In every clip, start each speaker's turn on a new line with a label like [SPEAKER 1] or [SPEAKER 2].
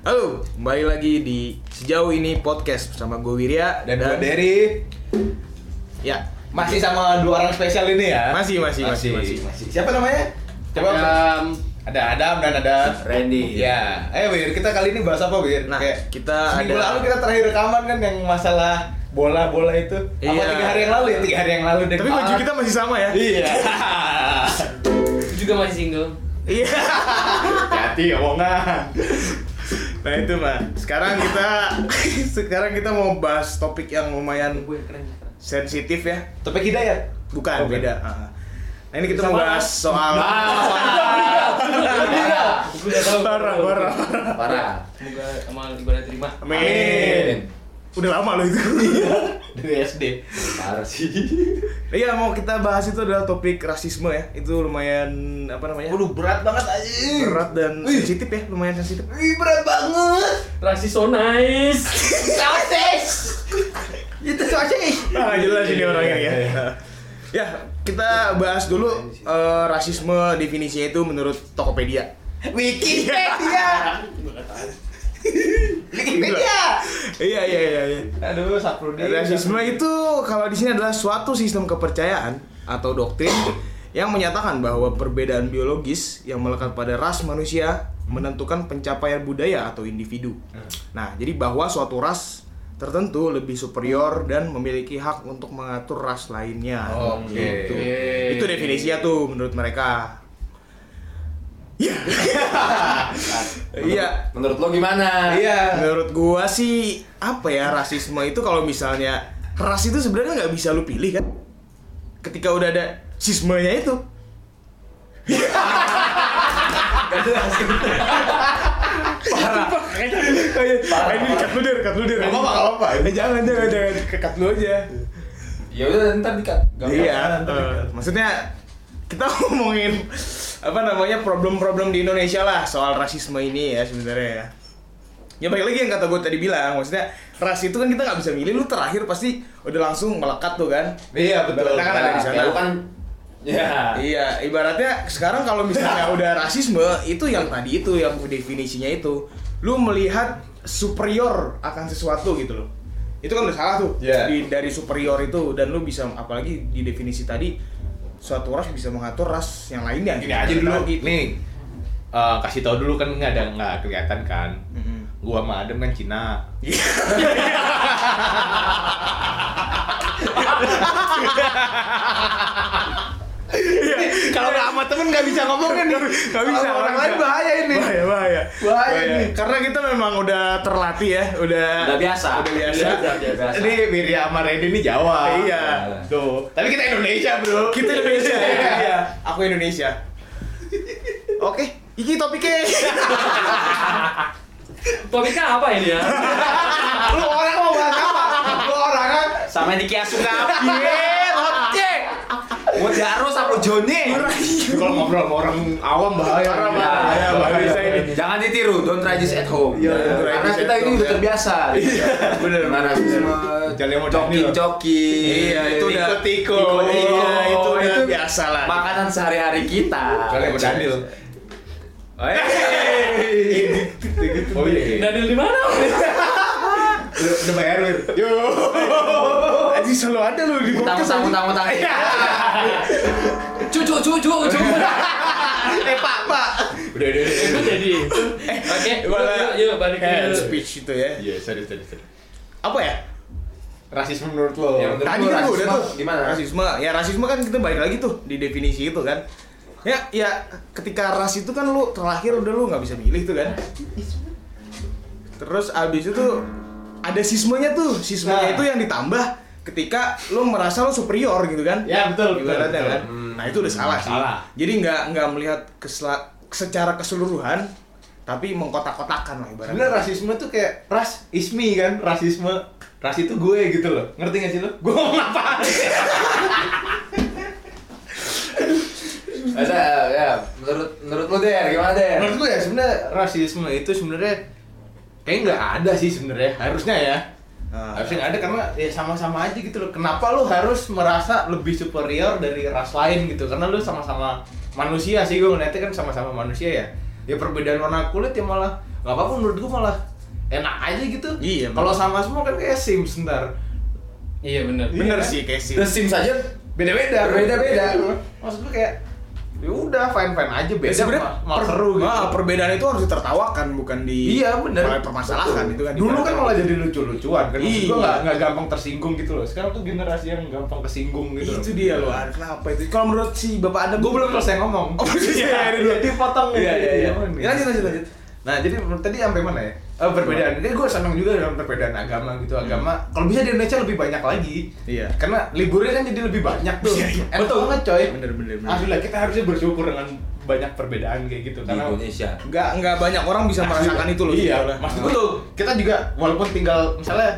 [SPEAKER 1] Halo, kembali lagi di sejauh ini podcast bersama gue Wirya
[SPEAKER 2] Dan gue Derry
[SPEAKER 1] Ya,
[SPEAKER 2] Masih sama dua orang spesial ini ya
[SPEAKER 1] Masih, masih, masih,
[SPEAKER 2] Masih,
[SPEAKER 1] masih.
[SPEAKER 2] masih. Siapa namanya? Coba Ada Adam dan ada
[SPEAKER 3] Randy.
[SPEAKER 1] Iya.
[SPEAKER 2] Ya, eh Wir, kita kali ini bahas apa Wir?
[SPEAKER 1] Nah, kita
[SPEAKER 2] seminggu
[SPEAKER 1] ada-
[SPEAKER 2] lalu kita terakhir rekaman kan yang masalah bola-bola itu Apa
[SPEAKER 1] Iya.
[SPEAKER 2] tiga hari yang lalu ya? Tiga hari yang lalu deh
[SPEAKER 1] tapi baju kita masih sama ya.
[SPEAKER 2] ah. Iya
[SPEAKER 3] Juga masih single.
[SPEAKER 1] Iya.
[SPEAKER 2] Hati-hati omongan
[SPEAKER 1] nah itu mah. Sekarang kita sekarang kita mau bahas topik yang lumayan
[SPEAKER 3] Gue keren. keren.
[SPEAKER 1] sensitif ya.
[SPEAKER 2] Topik hidayat
[SPEAKER 1] Bukan,
[SPEAKER 2] Oh,
[SPEAKER 1] beda. Ah. Nah ini kita
[SPEAKER 3] Sama.
[SPEAKER 1] mau bahas soal
[SPEAKER 2] Nah.
[SPEAKER 3] Gue udah tahu.
[SPEAKER 1] parah, parah, parah.
[SPEAKER 3] Parah. Semoga amal ibadah terima.
[SPEAKER 1] Amin. Udah lama loh itu.
[SPEAKER 2] Dari SD
[SPEAKER 3] Parah sih.
[SPEAKER 1] Iya mau kita bahas itu adalah topik rasisme ya Itu lumayan apa namanya
[SPEAKER 2] Waduh berat banget anjing
[SPEAKER 1] berat dan
[SPEAKER 2] Wih.
[SPEAKER 1] sensitif ya lumayan sensitif
[SPEAKER 2] Wih berat banget
[SPEAKER 3] Rasis so nice.
[SPEAKER 2] Sosis Itu sosis
[SPEAKER 1] Ah jelas ini orang ini ya
[SPEAKER 2] Iya.
[SPEAKER 1] Ya kita bahas dulu eh, rasisme definisinya itu menurut Tokopedia
[SPEAKER 2] Wikipedia Wikipedia
[SPEAKER 1] Iya iya iya iya
[SPEAKER 2] Aduh Saprudi
[SPEAKER 1] Rasisme
[SPEAKER 2] gitu.
[SPEAKER 1] itu kalau di sini adalah suatu sistem kepercayaan atau doktrin yang menyatakan bahwa perbedaan biologis yang melekat pada ras manusia menentukan pencapaian budaya atau individu. Nah, jadi bahwa suatu ras tertentu lebih superior dan memiliki hak untuk mengatur ras lainnya.
[SPEAKER 2] Oke.
[SPEAKER 1] Gitu. Itu definisinya tuh menurut mereka. Iya. Iya.
[SPEAKER 4] Menurut lo gimana?
[SPEAKER 2] Iya
[SPEAKER 1] Menurut gua sih apa ya rasisme itu kalau misalnya ras itu sebenarnya nggak bisa lu pilih kan? Ketika udah ada sismenya itu. Parah. Parah. Ini cut lu der, cut lu der.
[SPEAKER 2] Gak apa-apa, gak apa-apa.
[SPEAKER 1] Eh, Jangan, jangan, jangan. Kekat lu aja.
[SPEAKER 4] Ya udah ntar dikat.
[SPEAKER 1] Iya. eh, Maksudnya kita ngomongin apa namanya problem-problem di Indonesia lah soal rasisme ini ya sebenarnya ya. Ya balik lagi yang kata gue tadi bilang, maksudnya ras itu kan kita nggak bisa milih, lu terakhir pasti udah langsung melekat tuh kan.
[SPEAKER 2] Iya betul
[SPEAKER 1] Tangan ada di sana.
[SPEAKER 4] Ya, lu kan. Ya.
[SPEAKER 1] Iya, ibaratnya sekarang kalau misalnya udah rasisme itu yang tadi itu yang definisinya itu, lu melihat superior akan sesuatu gitu loh. Itu kan udah salah tuh.
[SPEAKER 2] Iya.
[SPEAKER 1] Di- dari superior itu dan lu bisa apalagi di definisi tadi suatu ras bisa mengatur ras yang lainnya.
[SPEAKER 2] Nah, Gini aja dulu
[SPEAKER 1] Gitu.
[SPEAKER 2] Nih eh, Kasih tau dulu kan nggak ada nggak kelihatan kan
[SPEAKER 1] Mm-mm.
[SPEAKER 2] Gua sama Adam kan Cina Kalau nggak sama temen nggak bisa ngomongin nih
[SPEAKER 1] Gak bisa.
[SPEAKER 2] Sama orang
[SPEAKER 1] gak
[SPEAKER 2] lain
[SPEAKER 1] bisa.
[SPEAKER 2] bahaya ini
[SPEAKER 1] Bahaya, bahaya.
[SPEAKER 2] Bahaya ini.
[SPEAKER 1] Karena kita memang udah terlatih ya, udah
[SPEAKER 4] Udah biasa.
[SPEAKER 1] Udah biasa.
[SPEAKER 4] Udah biasa.
[SPEAKER 2] Ini Wirya sama Randy ini Jawa
[SPEAKER 1] Iya.
[SPEAKER 2] Tuh Tapi kita Indonesia bro
[SPEAKER 1] Kita Indonesia. Iya, aku Indonesia. Oke, iki topiknya.
[SPEAKER 3] Topiknya apa ini ya?
[SPEAKER 2] Lu orang mau bahas apa? Lu orang kan
[SPEAKER 4] Sama di Kia Sukabi.
[SPEAKER 2] Iya,
[SPEAKER 4] Oke. Mau Jaro sama Joni.
[SPEAKER 2] Kalau ngobrol sama orang awam bahaya
[SPEAKER 1] Orang
[SPEAKER 2] Iya,
[SPEAKER 1] bahaya,
[SPEAKER 2] iya,
[SPEAKER 1] bahaya.
[SPEAKER 4] Jangan ditiru, don't try this at home.
[SPEAKER 1] Iya,
[SPEAKER 4] Ya.
[SPEAKER 1] don't try
[SPEAKER 4] Karena
[SPEAKER 1] this
[SPEAKER 4] kita
[SPEAKER 1] at
[SPEAKER 4] ini
[SPEAKER 1] home,
[SPEAKER 4] udah
[SPEAKER 1] ya.
[SPEAKER 4] terbiasa. Iya, benar. Mana semua
[SPEAKER 2] Jangan yang modern nih, loh.
[SPEAKER 4] joki-joki.
[SPEAKER 1] Iya, itu udah
[SPEAKER 2] Ikut-ikut.
[SPEAKER 1] Iya, itu
[SPEAKER 4] Oh,
[SPEAKER 1] udah
[SPEAKER 4] itu
[SPEAKER 1] biasa lah.
[SPEAKER 4] Makanan sehari-hari kita.
[SPEAKER 2] Kecuali sama Daniel Oh iya
[SPEAKER 3] Daniel di mana?
[SPEAKER 2] Udah udah bayar Wir Yo
[SPEAKER 1] Aji selalu ada loh di
[SPEAKER 2] gitu.
[SPEAKER 4] Utang, utang, utang, utang.
[SPEAKER 3] Cucu, cucu, cucu.
[SPEAKER 2] Eh pak pak Udah udah udah
[SPEAKER 3] Itu jadi. Oke,
[SPEAKER 1] Wala-
[SPEAKER 3] yuk, yuk balik
[SPEAKER 1] Hand
[SPEAKER 3] ke
[SPEAKER 1] speech itu ya.
[SPEAKER 2] Iya serius serius serius.
[SPEAKER 1] Apa ya?
[SPEAKER 2] Rasisme menurut lo
[SPEAKER 4] Ya, menurut-
[SPEAKER 1] Tadi
[SPEAKER 4] Lu
[SPEAKER 1] kan gua udah
[SPEAKER 4] rasisme
[SPEAKER 1] tuh
[SPEAKER 4] gimana?
[SPEAKER 1] Rasisme. Ya rasisme kan kita balik lagi tuh di definisi itu kan. Ya, ya ketika ras itu kan lu terakhir udah lu nggak bisa milih tuh kan. Terus abis itu ada sismenya tuh. Sismenya
[SPEAKER 2] Nah.
[SPEAKER 1] itu yang ditambah ketika lu merasa lu superior gitu kan.
[SPEAKER 2] Ya, betul, betul,
[SPEAKER 1] Ibaratnya
[SPEAKER 2] betul. Hmm.
[SPEAKER 1] kan. Nah, itu udah salah sih.
[SPEAKER 2] Salah.
[SPEAKER 1] Jadi nggak nggak melihat kesela- secara keseluruhan tapi mengkotak-kotakan lah ibaratnya.
[SPEAKER 2] Sebenernya rasisme tuh kayak ras ismi kan, rasisme ras itu gue gitu loh. Ngerti gak sih lo? Gue ngomong apa?
[SPEAKER 4] Masa, ya, menurut menurut lo deh, gimana deh?
[SPEAKER 2] Menurut gue ya sebenarnya rasisme itu sebenarnya kayak nggak ada sih sebenarnya harusnya ya.
[SPEAKER 1] Ah.
[SPEAKER 2] Harusnya nggak ada karena ya sama-sama aja gitu loh. Kenapa lu harus merasa lebih superior dari ras lain gitu? Karena lu sama-sama manusia sih gue ngeliatnya kan sama-sama manusia ya. Ya perbedaan warna kulit ya malah nggak apa-apa menurut gue malah enak aja gitu
[SPEAKER 1] Iya,
[SPEAKER 2] kalau sama semua kan kayak Sims ntar
[SPEAKER 3] Iya benar.
[SPEAKER 1] Bener
[SPEAKER 2] Iya.
[SPEAKER 1] sih Casey.
[SPEAKER 4] The Sims aja
[SPEAKER 2] beda-beda
[SPEAKER 4] Beda-beda.
[SPEAKER 2] maksud gue kayak ya udah fine fine aja
[SPEAKER 1] Ya,
[SPEAKER 2] beda
[SPEAKER 1] sebenarnya
[SPEAKER 2] ma- malah
[SPEAKER 1] per-
[SPEAKER 2] seru gitu
[SPEAKER 1] ah, perbedaan itu harus ditertawakan bukan di
[SPEAKER 2] Iya bener
[SPEAKER 1] malah permasalahan
[SPEAKER 2] Betul.
[SPEAKER 1] itu kan
[SPEAKER 2] Dulu kan
[SPEAKER 1] ditertawakan.
[SPEAKER 2] malah jadi lucu-lucuan kan Maksud
[SPEAKER 1] Iya.
[SPEAKER 2] gua gak, gampang tersinggung gitu loh Sekarang tuh generasi yang gampang kesinggung gitu
[SPEAKER 1] itu dia loh Ar. kenapa itu kalau menurut si bapak anda
[SPEAKER 2] Gue belum selesai ngomong
[SPEAKER 1] Oh, belum selesai.
[SPEAKER 2] Iya, iya, Dipotong
[SPEAKER 1] Iya, iya, iya.
[SPEAKER 2] Ya, Lanjut lanjut lanjut Nah jadi menurut- tadi sampai mana ya? Eh, perbedaan. Jadi gue seneng juga dengan perbedaan agama gitu. Agama kalau bisa di Indonesia lebih banyak lagi.
[SPEAKER 1] Hmm. Iya.
[SPEAKER 2] Karena liburnya kan jadi lebih banyak tuh.
[SPEAKER 1] Iya, iya.
[SPEAKER 2] Enak
[SPEAKER 1] Betul.
[SPEAKER 2] banget coy.
[SPEAKER 1] Bener, bener, bener.
[SPEAKER 2] Alhamdulillah kita harusnya bersyukur dengan banyak perbedaan kayak gitu
[SPEAKER 4] di
[SPEAKER 2] karena
[SPEAKER 4] Indonesia.
[SPEAKER 1] nggak nggak banyak orang bisa
[SPEAKER 2] Asli.
[SPEAKER 1] merasakan itu loh
[SPEAKER 2] iya
[SPEAKER 1] sebetulnya. Nah.
[SPEAKER 2] maksud gue tuh kita juga walaupun tinggal misalnya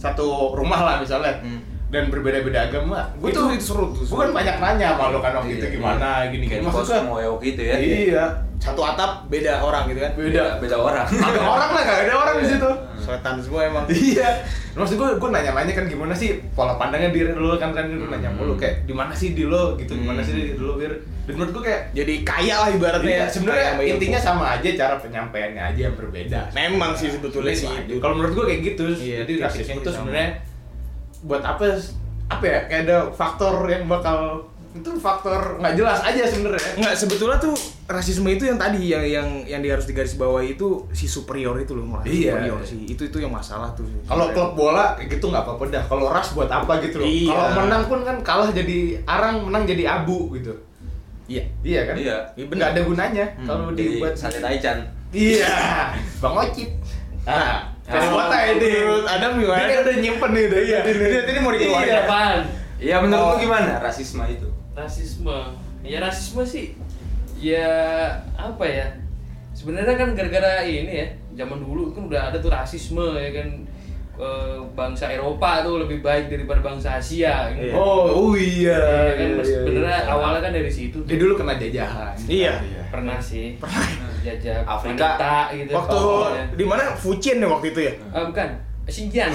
[SPEAKER 2] satu rumah lah misalnya
[SPEAKER 1] Hmm.
[SPEAKER 2] dan berbeda-beda agama gue
[SPEAKER 1] Itu-
[SPEAKER 2] tuh
[SPEAKER 1] itu seru tuh, seru.
[SPEAKER 2] gue kan banyak nanya sama lo kan waktu
[SPEAKER 4] Iya,
[SPEAKER 2] itu gimana gini kan
[SPEAKER 4] Kayak
[SPEAKER 2] maksud
[SPEAKER 4] kos
[SPEAKER 2] gue
[SPEAKER 4] ngoyo gitu ya. Iya,
[SPEAKER 2] iya
[SPEAKER 1] satu atap beda orang gitu kan
[SPEAKER 2] beda
[SPEAKER 4] Beda orang.
[SPEAKER 2] ada
[SPEAKER 1] Iya.
[SPEAKER 2] orang lah gak ada orang di situ
[SPEAKER 1] setan semua emang
[SPEAKER 2] iya maksud gue gue nanya-nanya kan gimana sih pola pandangnya diri lo kan kan gue nanya mulu
[SPEAKER 1] Hmm.
[SPEAKER 2] kayak di mana sih di lo gitu gimana sih di lo bir dan menurut gue kayak
[SPEAKER 1] jadi kaya lah ibaratnya
[SPEAKER 2] Iya,
[SPEAKER 1] ya, kaya
[SPEAKER 2] sebenarnya
[SPEAKER 1] sama ilmu.
[SPEAKER 2] intinya sama aja cara penyampaiannya aja yang berbeda.
[SPEAKER 1] memang sih sebetulnya sih
[SPEAKER 2] Itu.
[SPEAKER 1] itu
[SPEAKER 2] Kalau menurut gua kayak gitu.
[SPEAKER 1] Iya,
[SPEAKER 2] Jadi
[SPEAKER 1] titiknya
[SPEAKER 2] rasisme
[SPEAKER 1] sih
[SPEAKER 2] tuh
[SPEAKER 1] sama.
[SPEAKER 2] sebenarnya buat apa apa ya kayak ada faktor yang bakal itu faktor nggak jelas aja sebenarnya.
[SPEAKER 1] Nggak, sebetulnya tuh rasisme itu yang tadi yang yang yang dia harus digarisbawahi itu si superior itu loh merasa
[SPEAKER 2] Iya.
[SPEAKER 1] superior sih itu itu yang masalah tuh
[SPEAKER 2] Kalau klub bola kayak gitu nggak apa-apa dah. Kalau ras buat apa gitu loh.
[SPEAKER 1] Iya.
[SPEAKER 2] Kalau menang pun kan kalah jadi arang, menang jadi abu gitu.
[SPEAKER 1] iya
[SPEAKER 2] Iya kan?
[SPEAKER 4] Iya. Hmm,
[SPEAKER 1] Iya, bener.
[SPEAKER 2] Nggak ada gunanya kalau
[SPEAKER 4] Jadi
[SPEAKER 2] dibuat
[SPEAKER 4] sate taichan.
[SPEAKER 2] Iya. Bang Ocit. Nah,
[SPEAKER 4] Nah,
[SPEAKER 2] nah, buat aja deh.
[SPEAKER 1] Ah. menurut Adam gimana?
[SPEAKER 2] Dia kan udah nyimpen nih udah iya.
[SPEAKER 1] Dia tadi mau dikeluarin.
[SPEAKER 2] Iya.
[SPEAKER 3] Apaan?
[SPEAKER 4] Iya menurut
[SPEAKER 1] Oh.
[SPEAKER 4] lu gimana rasisme itu?
[SPEAKER 3] Rasisme. Ya rasisme sih. Ya apa ya? Sebenarnya kan gara-gara ini ya, zaman dulu kan udah ada tuh rasisme ya kan E, bangsa Eropa tuh lebih baik daripada bangsa Asia. Kan?
[SPEAKER 1] Iya.
[SPEAKER 2] Oh, oh iya.
[SPEAKER 3] Iya kan,
[SPEAKER 2] iya, iya,
[SPEAKER 3] sebenarnya
[SPEAKER 2] iya.
[SPEAKER 3] awalnya kan dari situ
[SPEAKER 2] dia
[SPEAKER 3] tuh.
[SPEAKER 2] dulu kena jajahan.
[SPEAKER 1] Iya.
[SPEAKER 3] Pernah sih. Pernah. Jajah
[SPEAKER 4] Afrika.
[SPEAKER 3] wanita gitu.
[SPEAKER 1] waktu
[SPEAKER 2] Iya,
[SPEAKER 3] awalnya.
[SPEAKER 1] di mana Fujian ya waktu itu ya
[SPEAKER 3] Eh, bukan. Xinjiang.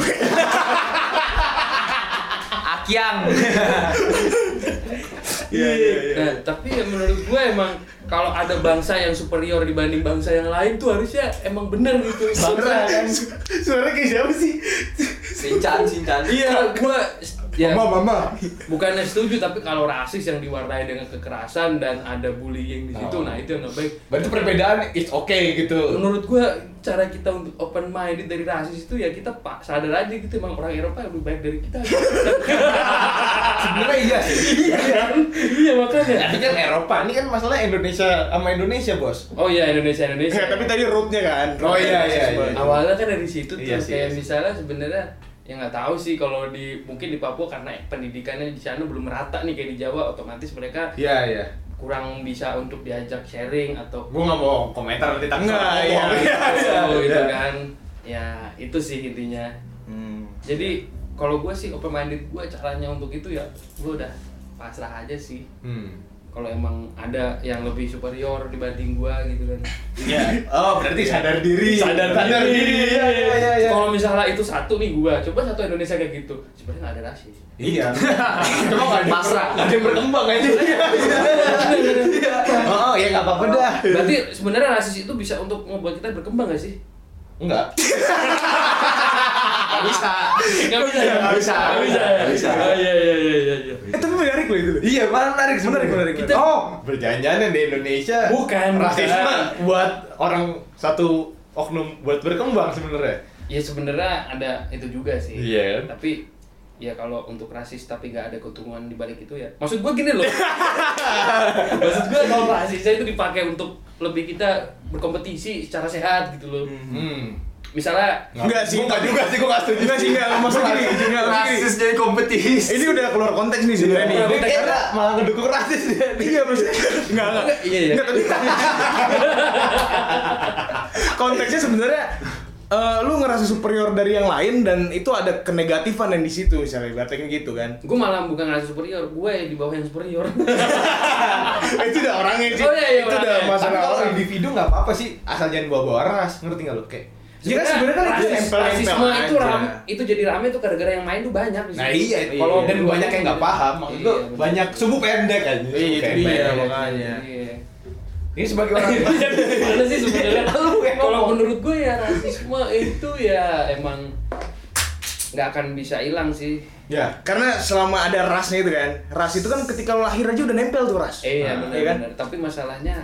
[SPEAKER 4] Akyang.
[SPEAKER 1] iya iya
[SPEAKER 3] Nah, tapi ya menurut gue emang kalau ada bangsa yang superior dibanding bangsa yang lain tuh harusnya emang bener gitu.
[SPEAKER 2] Bangsa kan.
[SPEAKER 1] suara kayak siapa sih
[SPEAKER 4] Sinchan, Sinchan.
[SPEAKER 3] Iya, gue ya
[SPEAKER 2] Mama, mama.
[SPEAKER 3] bukannya setuju tapi kalau rasis yang diwarnai dengan kekerasan dan ada bullying di situ, nah itu yang nggak baik.
[SPEAKER 2] Berarti perbedaan it's okay gitu.
[SPEAKER 3] Menurut gue cara kita untuk open minded dari rasis itu ya kita pak sadar aja gitu emang orang Eropa lebih baik dari kita.
[SPEAKER 2] Sebenarnya iya sih.
[SPEAKER 3] Iya kan? Iya makanya.
[SPEAKER 2] Tapi kan Eropa, ini kan masalah Indonesia sama Indonesia, Bos.
[SPEAKER 3] Oh iya Indonesia Indonesia.
[SPEAKER 1] Iya, tapi tadi rootnya kan
[SPEAKER 2] Oh, iya, iya, iya.
[SPEAKER 1] Rasisme.
[SPEAKER 3] awalnya kan dari situ tuh
[SPEAKER 2] Iya sih,
[SPEAKER 3] kayak
[SPEAKER 2] iya sih.
[SPEAKER 3] misalnya sebenarnya ya nggak tahu sih kalau di mungkin di Papua karena pendidikannya di sana belum merata nih kayak di Jawa otomatis mereka
[SPEAKER 2] Iya, iya.
[SPEAKER 3] kurang bisa untuk diajak sharing atau
[SPEAKER 2] Gua nggak mau komentar nanti takut.
[SPEAKER 1] Nggak,
[SPEAKER 2] salah
[SPEAKER 1] iya,
[SPEAKER 2] ngomong.
[SPEAKER 1] iya,
[SPEAKER 3] atau gitu
[SPEAKER 2] iya.
[SPEAKER 3] kan ya itu sih intinya
[SPEAKER 1] Hmm.
[SPEAKER 3] jadi
[SPEAKER 2] Iya.
[SPEAKER 3] kalau gue sih open minded gue caranya untuk itu ya gue udah pasrah aja sih
[SPEAKER 2] Hmm.
[SPEAKER 3] kalau emang ada yang lebih superior dibanding gue gitu kan
[SPEAKER 2] Iya. Oh, berarti sadar diri.
[SPEAKER 3] Sadar diri.
[SPEAKER 2] Iya, iya, iya, iya.
[SPEAKER 3] kalau misalnya itu satu nih gue coba satu Indonesia kayak gitu sebenarnya nggak ada rasis
[SPEAKER 2] Iya. Cuma nggak ada yang-
[SPEAKER 3] Pasrah.
[SPEAKER 2] nggak ada yang berkembang aja. Iya. Oh, ya nggak apa-apa dah.
[SPEAKER 3] Berarti sebenarnya rasis itu bisa untuk membuat kita berkembang gak sih?
[SPEAKER 2] Enggak.
[SPEAKER 4] Bisa.
[SPEAKER 2] Iya,
[SPEAKER 3] Gak bisa, ya?
[SPEAKER 4] Nggak bisa.
[SPEAKER 3] Nggak bisa.
[SPEAKER 4] Nggak bisa.
[SPEAKER 3] Oh, Iya, iya, iya, iya, iya.
[SPEAKER 1] eh tapi menarik loh itu loh.
[SPEAKER 2] Iya, malah menarik
[SPEAKER 1] Menarik,
[SPEAKER 2] sebenarnya.
[SPEAKER 1] menarik.
[SPEAKER 2] Kita oh, berjanjian di Indonesia.
[SPEAKER 3] Bukan,
[SPEAKER 2] rasisme
[SPEAKER 3] bukan.
[SPEAKER 2] buat orang satu oknum buat berkembang sebenarnya.
[SPEAKER 3] Ya sebenarnya ada itu juga sih.
[SPEAKER 2] Iya.
[SPEAKER 3] Tapi ya kalau untuk rasis tapi nggak ada keuntungan di balik itu ya. Maksud gue gini loh. Maksud gue kalau rasisnya itu dipakai untuk lebih kita berkompetisi secara sehat gitu loh.
[SPEAKER 2] Hmm.
[SPEAKER 3] Misalnya
[SPEAKER 1] Enggak sih.
[SPEAKER 2] Gua Enggak juga sih, gua enggak setuju.
[SPEAKER 1] Enggak sih, enggak. Maksudnya gini, enggak, maksudnya gini.
[SPEAKER 4] Rasis jadi kompetisi.
[SPEAKER 1] Ini udah keluar konteks nih sebenarnya nih.
[SPEAKER 3] Iya.
[SPEAKER 2] Dia kira malah ngedukung rasis dia.
[SPEAKER 1] Iya, maksudnya. Enggak, enggak.
[SPEAKER 3] Iya, iya.
[SPEAKER 1] Enggak, tapi konteksnya sebenarnya eh, lu ngerasa superior dari yang lain dan itu ada kenegatifan yang di situ misalnya ibaratnya kan gitu kan.
[SPEAKER 3] gue malah bukan rasis superior, gue di bawah yang superior.
[SPEAKER 1] Eh, itu udah orangnya sih.
[SPEAKER 3] Oh, iya, iya,
[SPEAKER 1] itu udah
[SPEAKER 3] orangnya.
[SPEAKER 2] Tapi
[SPEAKER 1] masalah
[SPEAKER 2] kalau
[SPEAKER 1] orang.
[SPEAKER 2] individu enggak apa-apa sih, asal jangan bawa-bawa ras, ngerti enggak lu? Kayak
[SPEAKER 1] Ya kan sebenarnya kan itu
[SPEAKER 3] rasis-
[SPEAKER 1] nempel-nempel
[SPEAKER 3] rasisme itu
[SPEAKER 1] aja.
[SPEAKER 3] ram, itu jadi rame itu gara-gara yang main tuh banyak. di
[SPEAKER 2] Nah
[SPEAKER 3] situ.
[SPEAKER 2] iya, itu.
[SPEAKER 3] Kalau
[SPEAKER 2] dan
[SPEAKER 3] dua-
[SPEAKER 2] banyak yang nggak paham, maksud
[SPEAKER 3] Iya,
[SPEAKER 2] gua
[SPEAKER 3] bener.
[SPEAKER 2] banyak subuh pendek
[SPEAKER 1] Iya,
[SPEAKER 2] aja.
[SPEAKER 1] itu
[SPEAKER 2] Subuh
[SPEAKER 1] dia.
[SPEAKER 2] pendek.
[SPEAKER 1] makanya. Iya,
[SPEAKER 3] Iya.
[SPEAKER 2] Ini sebagai orang
[SPEAKER 3] Gimana sih sebenarnya?
[SPEAKER 2] Lu yang
[SPEAKER 3] Kalau
[SPEAKER 2] ngomong.
[SPEAKER 3] menurut gue ya, rasisme itu ya emang nggak akan bisa hilang sih.
[SPEAKER 2] Ya.
[SPEAKER 1] Karena selama ada rasnya itu kan, ras itu kan ketika lo lahir aja udah nempel tuh ras.
[SPEAKER 3] Eh, iya
[SPEAKER 1] Nah,
[SPEAKER 3] benar
[SPEAKER 1] iya kan?
[SPEAKER 3] benar. Tapi masalahnya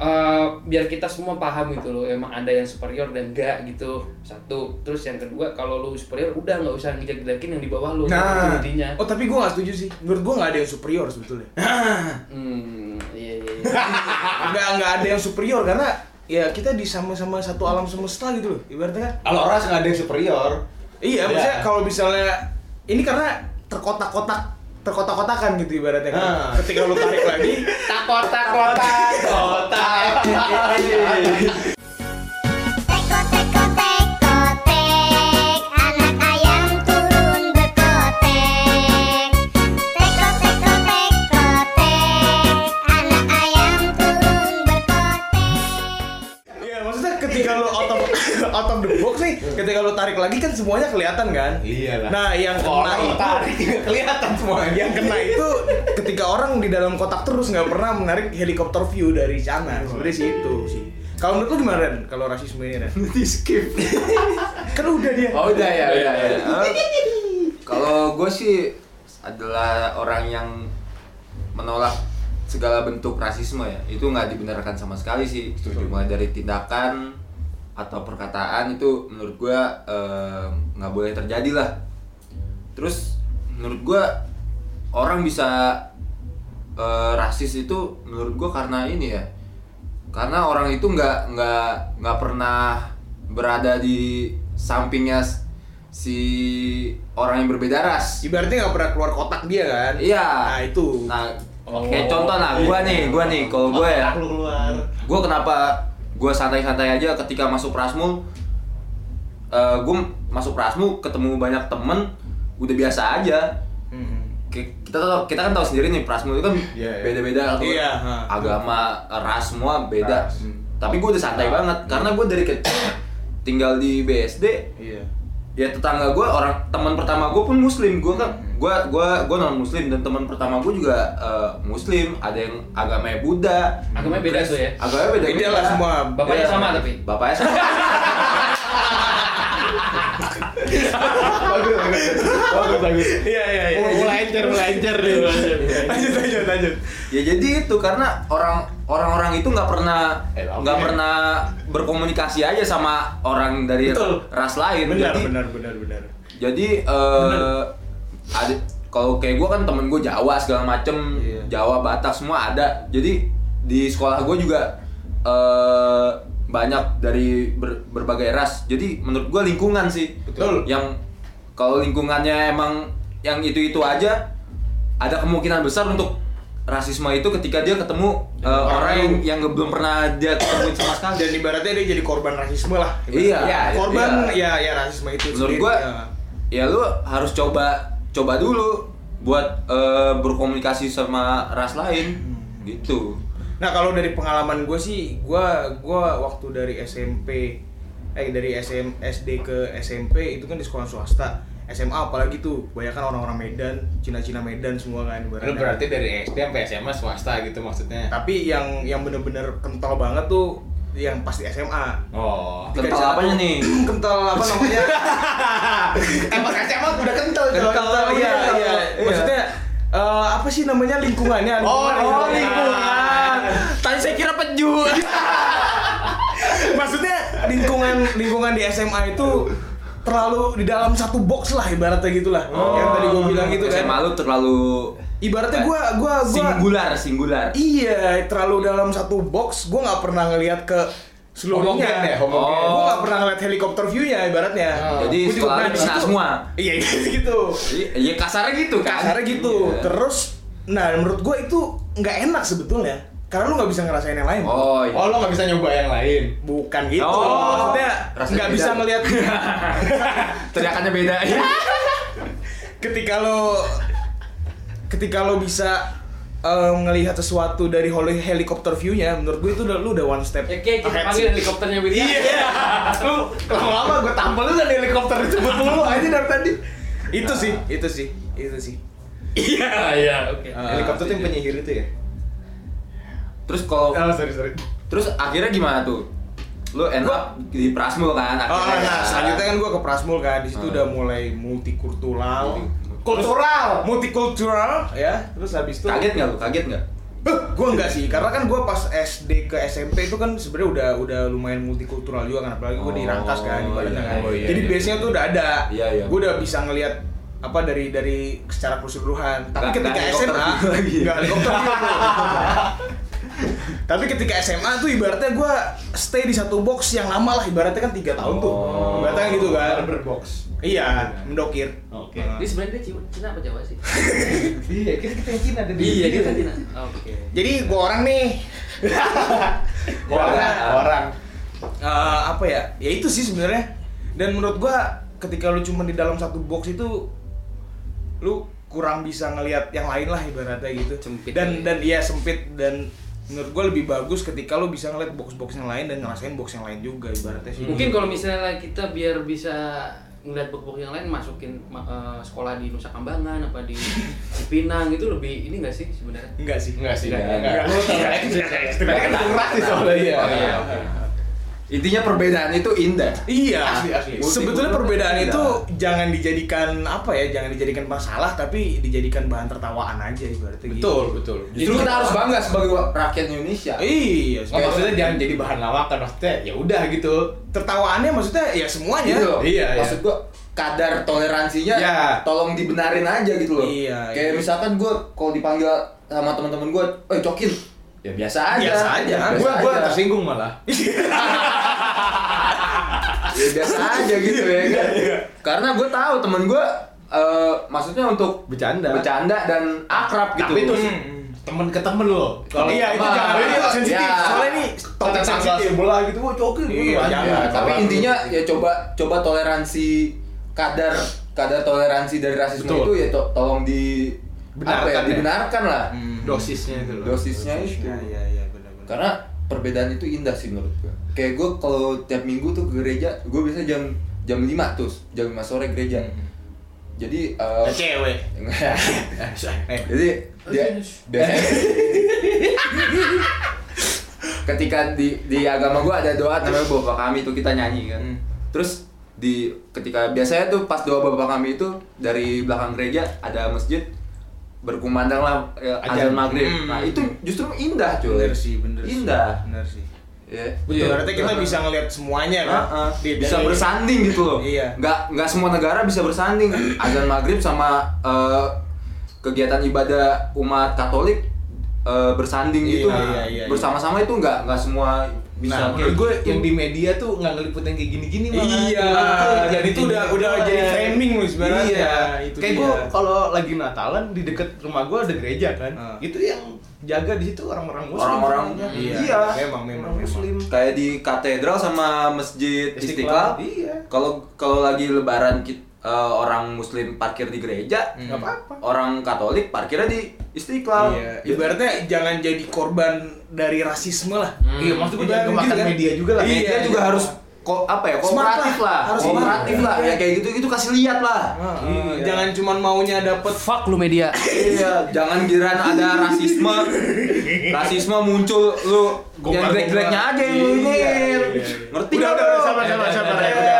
[SPEAKER 3] eh, biar kita semua paham gitu loh emang ada yang superior dan enggak gitu satu terus yang kedua kalau lu superior udah nggak usah ngejek-jekin yang di bawah lu gitu
[SPEAKER 2] Nah.
[SPEAKER 3] Itu intinya
[SPEAKER 1] Oh tapi gue gak setuju sih. Menurut gue gak ada yang superior sebetulnya.
[SPEAKER 3] hmm iya iya, iya.
[SPEAKER 1] nggak nggak ada yang superior karena ya kita di sama-sama satu alam semesta gitu loh. Ibaratnya kan.
[SPEAKER 2] Kalau ras nggak ada yang superior.
[SPEAKER 1] Iya,
[SPEAKER 2] Ya.
[SPEAKER 1] maksudnya kalau misalnya ini karena terkotak-kotak terkotak-kotakan gitu ibaratnya kan.
[SPEAKER 2] Ah.
[SPEAKER 1] Ketika lu tarik lagi,
[SPEAKER 3] tak kotak kotak
[SPEAKER 4] Iya,
[SPEAKER 5] Teko teko teko tek anak ayam turun berkotek Teko teko teko tek anak ayam turun berkotek
[SPEAKER 1] ya maksudnya ketika lu out of, out of the box nih, ketika lu tarik lagi kan semuanya kelihatan kan?
[SPEAKER 2] Iyalah.
[SPEAKER 1] Nah, yang kena
[SPEAKER 2] Iya. Orang
[SPEAKER 1] itu
[SPEAKER 2] tarik juga kelihatan semuanya.
[SPEAKER 1] yang kena itu ketika orang di dalam kotak terus nggak pernah menarik helikopter view dari sana. Sebenarnya sih itu sih. Kalau menurut lu gimana Ren? Kalau rasisme ini Ren?
[SPEAKER 2] Di skip.
[SPEAKER 1] Kan udah dia.
[SPEAKER 4] Oh udah ya, udah ya.
[SPEAKER 1] Ah,
[SPEAKER 4] Kalau gue sih adalah orang yang menolak segala bentuk rasisme ya. Itu nggak dibenarkan sama sekali sih. Mulai dari tindakan atau perkataan itu menurut gue nggak boleh terjadi lah. Terus menurut gue orang bisa eh, rasis itu menurut gue karena ini ya. Karena orang itu nggak nggak nggak pernah berada di sampingnya s- si orang yang berbeda ras.
[SPEAKER 1] Ibaratnya nggak pernah keluar kotak dia kan?
[SPEAKER 4] Iya.
[SPEAKER 1] Nah itu.
[SPEAKER 4] Nah,
[SPEAKER 3] Oh.
[SPEAKER 4] kayak contoh nah, gua nih, gua nih, kalau gua ya,
[SPEAKER 2] Lu keluar.
[SPEAKER 4] gua kenapa gua santai-santai aja ketika masuk Prasmul, eh gua masuk Prasmul ketemu banyak temen, udah biasa aja.
[SPEAKER 1] Mm-mm.
[SPEAKER 4] Ki- Kita tahu- kita kan tahu sendiri nih Prasmul itu kan
[SPEAKER 2] Hmm. Iya, iya.
[SPEAKER 4] beda-beda tuh.
[SPEAKER 1] Iya, ha.
[SPEAKER 4] agama, ras semua beda.
[SPEAKER 2] Ras.
[SPEAKER 4] Tapi gua udah santai banget karena gua dari kecil tinggal di BSD
[SPEAKER 1] Iya.
[SPEAKER 4] ya tetangga gue orang teman pertama gue pun muslim gue kan gue gue gue non muslim dan teman pertama gue juga eh, muslim ada yang agamanya Buddha
[SPEAKER 3] Agamanya beda tuh ya?
[SPEAKER 4] agamanya beda
[SPEAKER 1] Beda lah semua.
[SPEAKER 3] bapaknya
[SPEAKER 4] Iya.
[SPEAKER 3] sama tapi
[SPEAKER 4] bapaknya sama
[SPEAKER 2] Bagus, bagus. Bagus, bagus.
[SPEAKER 1] Iya iya iya.
[SPEAKER 2] Mulai encer, mulai encer deh.
[SPEAKER 1] Lanjut lanjut lanjut.
[SPEAKER 4] ya jadi itu karena orang orang-orang itu nggak pernah
[SPEAKER 2] Eh, lama
[SPEAKER 4] nggak
[SPEAKER 2] ya.
[SPEAKER 4] pernah berkomunikasi aja sama orang dari
[SPEAKER 1] Betul.
[SPEAKER 4] ras lain
[SPEAKER 1] Benar
[SPEAKER 4] jadi
[SPEAKER 1] benar benar benar.
[SPEAKER 4] jadi eh ada kalau kayak gue kan temen gue Jawa segala macem
[SPEAKER 1] Iya.
[SPEAKER 4] Jawa Batak semua ada jadi di sekolah gue juga eh banyak dari ber- berbagai ras jadi menurut gue lingkungan sih
[SPEAKER 1] Betul.
[SPEAKER 4] yang kalau lingkungannya emang yang itu itu aja ada kemungkinan besar untuk rasisme itu ketika dia ketemu eh, orang yang, yang belum pernah dia ketemuin sama sekali
[SPEAKER 1] Dan ibaratnya dia jadi korban rasisme lah.
[SPEAKER 4] Iya,
[SPEAKER 1] Ya,
[SPEAKER 4] iya.
[SPEAKER 1] korban ya ya rasisme itu.
[SPEAKER 4] menurut
[SPEAKER 1] sendiri,
[SPEAKER 4] gua
[SPEAKER 1] ya.
[SPEAKER 4] ya lu harus coba coba dulu buat eh, berkomunikasi sama ras lain
[SPEAKER 1] Hmm.
[SPEAKER 4] gitu
[SPEAKER 1] Nah kalau dari pengalaman gue sih, gue gua waktu dari SMP, eh dari SM, SD ke SMP itu kan di sekolah swasta, SMA apalagi tuh, banyak kan orang-orang Medan, Cina-Cina Medan semua kan
[SPEAKER 2] Lu berarti dari SD sampai SMA swasta gitu maksudnya.
[SPEAKER 1] Tapi yang yang bener-bener kental banget tuh yang pasti SMA.
[SPEAKER 2] Oh.
[SPEAKER 1] Tiga
[SPEAKER 4] Kental
[SPEAKER 1] satu.
[SPEAKER 4] apanya nih?
[SPEAKER 1] kental apa namanya?
[SPEAKER 2] Emang SMA udah kental coy.
[SPEAKER 1] kental iya,
[SPEAKER 2] Kental.
[SPEAKER 1] iya. Maksudnya eh, apa sih namanya lingkungannya?
[SPEAKER 2] Oh,
[SPEAKER 1] Lingkungan.
[SPEAKER 2] lingkungan.
[SPEAKER 4] tadi saya kira penju
[SPEAKER 1] Maksudnya lingkungan lingkungan di SMA itu terlalu di dalam satu box lah ibaratnya gitulah. Yang
[SPEAKER 4] Oh.
[SPEAKER 1] tadi gue bilang gitu kan.
[SPEAKER 4] SMA lu terlalu
[SPEAKER 1] Ibaratnya gue gua gua
[SPEAKER 4] singgular singgular
[SPEAKER 1] Iya, terlalu dalam satu box. Gue nggak pernah ngelihat ke seluruhnya.
[SPEAKER 2] Homogen ya, homogen.
[SPEAKER 1] Gue nggak pernah ngeliat helikopter view-nya ibaratnya.
[SPEAKER 2] Oh.
[SPEAKER 4] Jadi
[SPEAKER 1] Gua juga
[SPEAKER 4] sekolah
[SPEAKER 1] pernah di
[SPEAKER 4] kena
[SPEAKER 1] situ.
[SPEAKER 4] semua.
[SPEAKER 1] Iya gitu.
[SPEAKER 4] I- ya kasarnya gitu kan
[SPEAKER 1] Kasarnya gitu.
[SPEAKER 4] Iya.
[SPEAKER 1] Terus, nah menurut gue itu nggak enak sebetulnya. Karena lu nggak bisa ngerasain yang lain.
[SPEAKER 4] oh iya.
[SPEAKER 2] Oh, lo nggak bisa nyoba yang lain.
[SPEAKER 1] Bukan gitu.
[SPEAKER 4] Oh.
[SPEAKER 1] Maksudnya
[SPEAKER 4] Rasanya
[SPEAKER 1] nggak
[SPEAKER 4] beda.
[SPEAKER 1] bisa ngelihat
[SPEAKER 4] teriakannya beda
[SPEAKER 1] ketika lo ketika lo bisa eh, melihat sesuatu dari hol- helikopter view-nya, menurut gue itu udah, lu udah one step.
[SPEAKER 3] ya kayak kita
[SPEAKER 1] ahead
[SPEAKER 3] panggil
[SPEAKER 1] sih.
[SPEAKER 3] helikopternya William
[SPEAKER 1] Iya.
[SPEAKER 2] Lu lama-lama gue tampol lu dari helikopter itu lu aja dari tadi.
[SPEAKER 1] itu sih, itu sih, itu sih.
[SPEAKER 3] iya iya oke
[SPEAKER 1] Ah.
[SPEAKER 2] Helikopter tuh yang penyihir itu ya?
[SPEAKER 4] terus kalau
[SPEAKER 1] Eh,
[SPEAKER 2] Oh, sorry, sorry.
[SPEAKER 4] terus akhirnya gimana tuh lu end up di Prasmul kan
[SPEAKER 1] Oh,
[SPEAKER 4] akhirnya
[SPEAKER 1] nah,
[SPEAKER 4] kan.
[SPEAKER 1] selanjutnya kan gue ke Prasmul kan, di situ
[SPEAKER 4] Hmm.
[SPEAKER 1] udah mulai multikultural,
[SPEAKER 2] Kultural.
[SPEAKER 1] multikultural ya. Terus habis itu
[SPEAKER 4] kaget nggak lu kaget nggak
[SPEAKER 1] gue enggak sih, karena kan gue pas SD ke SMP itu kan sebenarnya udah udah lumayan multikultural juga kan, apalagi gue di Rangkas kan, di
[SPEAKER 4] Oh,
[SPEAKER 1] Padang
[SPEAKER 4] iya,
[SPEAKER 1] kan.
[SPEAKER 4] oh, iya,
[SPEAKER 1] Jadi
[SPEAKER 4] iya.
[SPEAKER 1] biasanya tuh udah ada,
[SPEAKER 4] Iya, iya.
[SPEAKER 1] gue udah bisa ngelihat apa dari dari secara keseluruhan. Tapi
[SPEAKER 4] Nggak-
[SPEAKER 1] ketika
[SPEAKER 4] nggak helikopter
[SPEAKER 1] SMA,
[SPEAKER 4] view lagi.
[SPEAKER 1] nggak helikopter view. Tapi ketika SMA tuh ibaratnya gue stay di satu box yang lama lah, ibaratnya kan tiga tahun tuh,
[SPEAKER 4] Oh.
[SPEAKER 1] ibaratnya gitu kan.
[SPEAKER 2] Berbox.
[SPEAKER 1] Iya, mendokir.
[SPEAKER 2] Oke.
[SPEAKER 1] Nah.
[SPEAKER 3] Ini sebenarnya dia Cina- Cina apa Jawa sih?
[SPEAKER 2] Iya, kita kita yang Cina ada di
[SPEAKER 3] Iya,
[SPEAKER 2] Cina.
[SPEAKER 3] kita Cina. Oke.
[SPEAKER 1] Jadi gua orang nih
[SPEAKER 4] Iya.
[SPEAKER 2] Orang,
[SPEAKER 1] iya.
[SPEAKER 2] orang.
[SPEAKER 1] eh, apa ya? Ya itu sih sebenarnya. Dan menurut gua ketika lu cuma di dalam satu box itu lu kurang bisa ngelihat yang lain lah ibaratnya gitu.
[SPEAKER 3] Sempit
[SPEAKER 1] Dan
[SPEAKER 3] ya.
[SPEAKER 1] dan iya sempit dan menurut gua lebih bagus ketika lu bisa ngeliat box-box yang lain dan ngerasain box yang lain juga ibaratnya
[SPEAKER 2] Hmm.
[SPEAKER 1] sih.
[SPEAKER 3] Mungkin kalau misalnya kita biar bisa ngeliat bok-bok yang lain masukin ma- eh, sekolah di Nusa Kambangan apa di Cipinang itu lebih ini enggak sih sebenarnya?
[SPEAKER 1] enggak sih.
[SPEAKER 2] Enggak sih,
[SPEAKER 4] Enggak,
[SPEAKER 2] enggak.
[SPEAKER 1] enggak.
[SPEAKER 2] Tadi kan murah sih soalnya iya.
[SPEAKER 4] Oh, iya, oke. intinya perbedaan itu indah
[SPEAKER 1] Iya,
[SPEAKER 2] Asli, asli. Iya.
[SPEAKER 1] sebetulnya perbedaan
[SPEAKER 4] Multikultural.
[SPEAKER 1] itu jangan dijadikan apa ya, jangan dijadikan masalah, tapi dijadikan bahan tertawaan aja ibaratnya. gitu.
[SPEAKER 2] Betul, betul.
[SPEAKER 4] justru kita harus bangga sebagai wa- rakyat Indonesia
[SPEAKER 1] Iya,
[SPEAKER 2] Nggak,
[SPEAKER 1] kayak-
[SPEAKER 2] maksudnya jangan jadi bahan lawakan maksudnya ya udah gitu.
[SPEAKER 1] tertawaannya maksudnya ya semuanya.
[SPEAKER 4] gitu loh.
[SPEAKER 2] Iya, iya.
[SPEAKER 4] maksud gua kadar toleransinya
[SPEAKER 2] Iya.
[SPEAKER 4] tolong dibenarin aja gitu loh
[SPEAKER 1] Iya, iya.
[SPEAKER 4] kayak misalkan gua kalau dipanggil sama teman-teman gua eh cokin ya biasa aja
[SPEAKER 1] Iya, Biasa aja. Iya.
[SPEAKER 4] Ya, biasa
[SPEAKER 2] Gua gua
[SPEAKER 4] aja.
[SPEAKER 2] tersinggung malah.
[SPEAKER 4] ya biasa aja gitu ya kan
[SPEAKER 1] Iya.
[SPEAKER 4] karena gue tahu temen gue eh, maksudnya untuk
[SPEAKER 2] Bercanda.
[SPEAKER 4] bercanda dan akrab gitu
[SPEAKER 2] Tapi itu sih, temen ke temen loh. Kalau
[SPEAKER 1] iya itu
[SPEAKER 4] Apa?
[SPEAKER 1] jangan ini
[SPEAKER 4] Iya.
[SPEAKER 1] sensitif. Soalnya ini
[SPEAKER 2] tentang
[SPEAKER 1] topik
[SPEAKER 2] tanggal
[SPEAKER 1] sensitif.
[SPEAKER 2] sebelah gitu, wah cokin
[SPEAKER 1] Iya,
[SPEAKER 4] Ya,
[SPEAKER 1] jangan. Iya.
[SPEAKER 4] tapi
[SPEAKER 1] Kalau-
[SPEAKER 4] intinya ya coba coba toleransi kadar kadar toleransi dari rasisme
[SPEAKER 2] Betul.
[SPEAKER 4] itu ya to- tolong di
[SPEAKER 2] Benarkan
[SPEAKER 4] apa ya,
[SPEAKER 2] ya.
[SPEAKER 4] dibenarkan lah Hmm.
[SPEAKER 2] dosisnya itu loh.
[SPEAKER 4] dosisnya itu
[SPEAKER 1] Iya, iya, iya, benar-benar.
[SPEAKER 4] karena perbedaan itu indah sih menurut gue kayak gue kalau tiap minggu tuh ke gereja gue biasa jam jam 5 tuh jam 5 sore gereja
[SPEAKER 2] Hmm.
[SPEAKER 4] jadi eh,
[SPEAKER 1] Ya, cewek. Eh,
[SPEAKER 4] Jadi dia biasanya ketika di di agama gua ada doa namanya Bapa Kami itu kita nyanyi kan.
[SPEAKER 1] Hmm.
[SPEAKER 4] Terus di ketika biasanya tuh pas doa Bapa Kami itu dari belakang gereja ada masjid berkumandang lah ya,
[SPEAKER 2] Azan.
[SPEAKER 4] azan maghrib.
[SPEAKER 1] Hmm.
[SPEAKER 4] Nah itu justru indah cuy.
[SPEAKER 1] bener sih, bener sih.
[SPEAKER 4] Indah.
[SPEAKER 1] Bener sih.
[SPEAKER 4] Ya.
[SPEAKER 1] Betul, berarti kita bisa ngelihat semuanya kan.
[SPEAKER 4] Ah, ah.
[SPEAKER 1] Di-
[SPEAKER 4] bisa
[SPEAKER 1] dari-
[SPEAKER 4] bersanding gitu loh.
[SPEAKER 1] Iya.
[SPEAKER 4] Nggak nggak semua negara bisa bersanding. Azan maghrib sama eh, kegiatan ibadah umat Katolik eh, bersanding
[SPEAKER 1] Iya,
[SPEAKER 4] gitu.
[SPEAKER 1] iya, iya,
[SPEAKER 4] Bersama-sama itu nggak nggak semua
[SPEAKER 2] Nah,
[SPEAKER 4] bisa.
[SPEAKER 2] menurut gue yang di media tuh nggak ngeliput yang kayak gitu. gini-gini malah.
[SPEAKER 1] Iya, jadi itu udah udah jadi framing lu sebenarnya.
[SPEAKER 2] Iya,
[SPEAKER 1] itu
[SPEAKER 2] kayak
[SPEAKER 1] dia.
[SPEAKER 2] gue kalau lagi Natalan di deket rumah gue ada gereja kan,
[SPEAKER 1] Ah.
[SPEAKER 2] itu yang jaga di situ orang-orang muslim.
[SPEAKER 4] Orang-orang,
[SPEAKER 2] sebenarnya.
[SPEAKER 1] iya.
[SPEAKER 2] iya,
[SPEAKER 1] Memang, memang,
[SPEAKER 2] orang muslim.
[SPEAKER 4] Kayak di katedral sama masjid
[SPEAKER 2] Istiqlal,
[SPEAKER 4] Istiqlal.
[SPEAKER 2] iya.
[SPEAKER 4] Kalau kalau lagi Lebaran kit- eh, orang Muslim parkir di gereja,
[SPEAKER 2] Nggak apa-apa.
[SPEAKER 4] orang Katolik parkirnya di Istiqlal.
[SPEAKER 1] Iya, ibaratnya jangan jadi korban dari rasisme lah.
[SPEAKER 2] Iya, maksud gue jangan
[SPEAKER 1] Ibaratnya
[SPEAKER 2] kemakan
[SPEAKER 1] gitu kan.
[SPEAKER 2] media juga lah.
[SPEAKER 1] Iya,
[SPEAKER 4] media juga
[SPEAKER 1] iya.
[SPEAKER 4] harus ko apa ya kooperatif
[SPEAKER 1] Smart lah,
[SPEAKER 4] lah,
[SPEAKER 1] harus
[SPEAKER 4] kooperatif
[SPEAKER 1] smart.
[SPEAKER 4] lah ya kayak gitu gitu kasih lihat lah
[SPEAKER 1] Iya. Jangan cuman maunya dapet
[SPEAKER 3] Fuck lu media.
[SPEAKER 4] iya jangan giran ada rasisme rasisme muncul lu yang
[SPEAKER 2] Gombal-gombal.
[SPEAKER 4] jelek-jeleknya aja yang lu
[SPEAKER 2] Iya,
[SPEAKER 4] ini
[SPEAKER 2] iya, iya.
[SPEAKER 4] ngerti
[SPEAKER 1] Udah, udah,
[SPEAKER 4] nggak Iya. lu?
[SPEAKER 1] udah, sabar, sabar, sabar, ya, udah,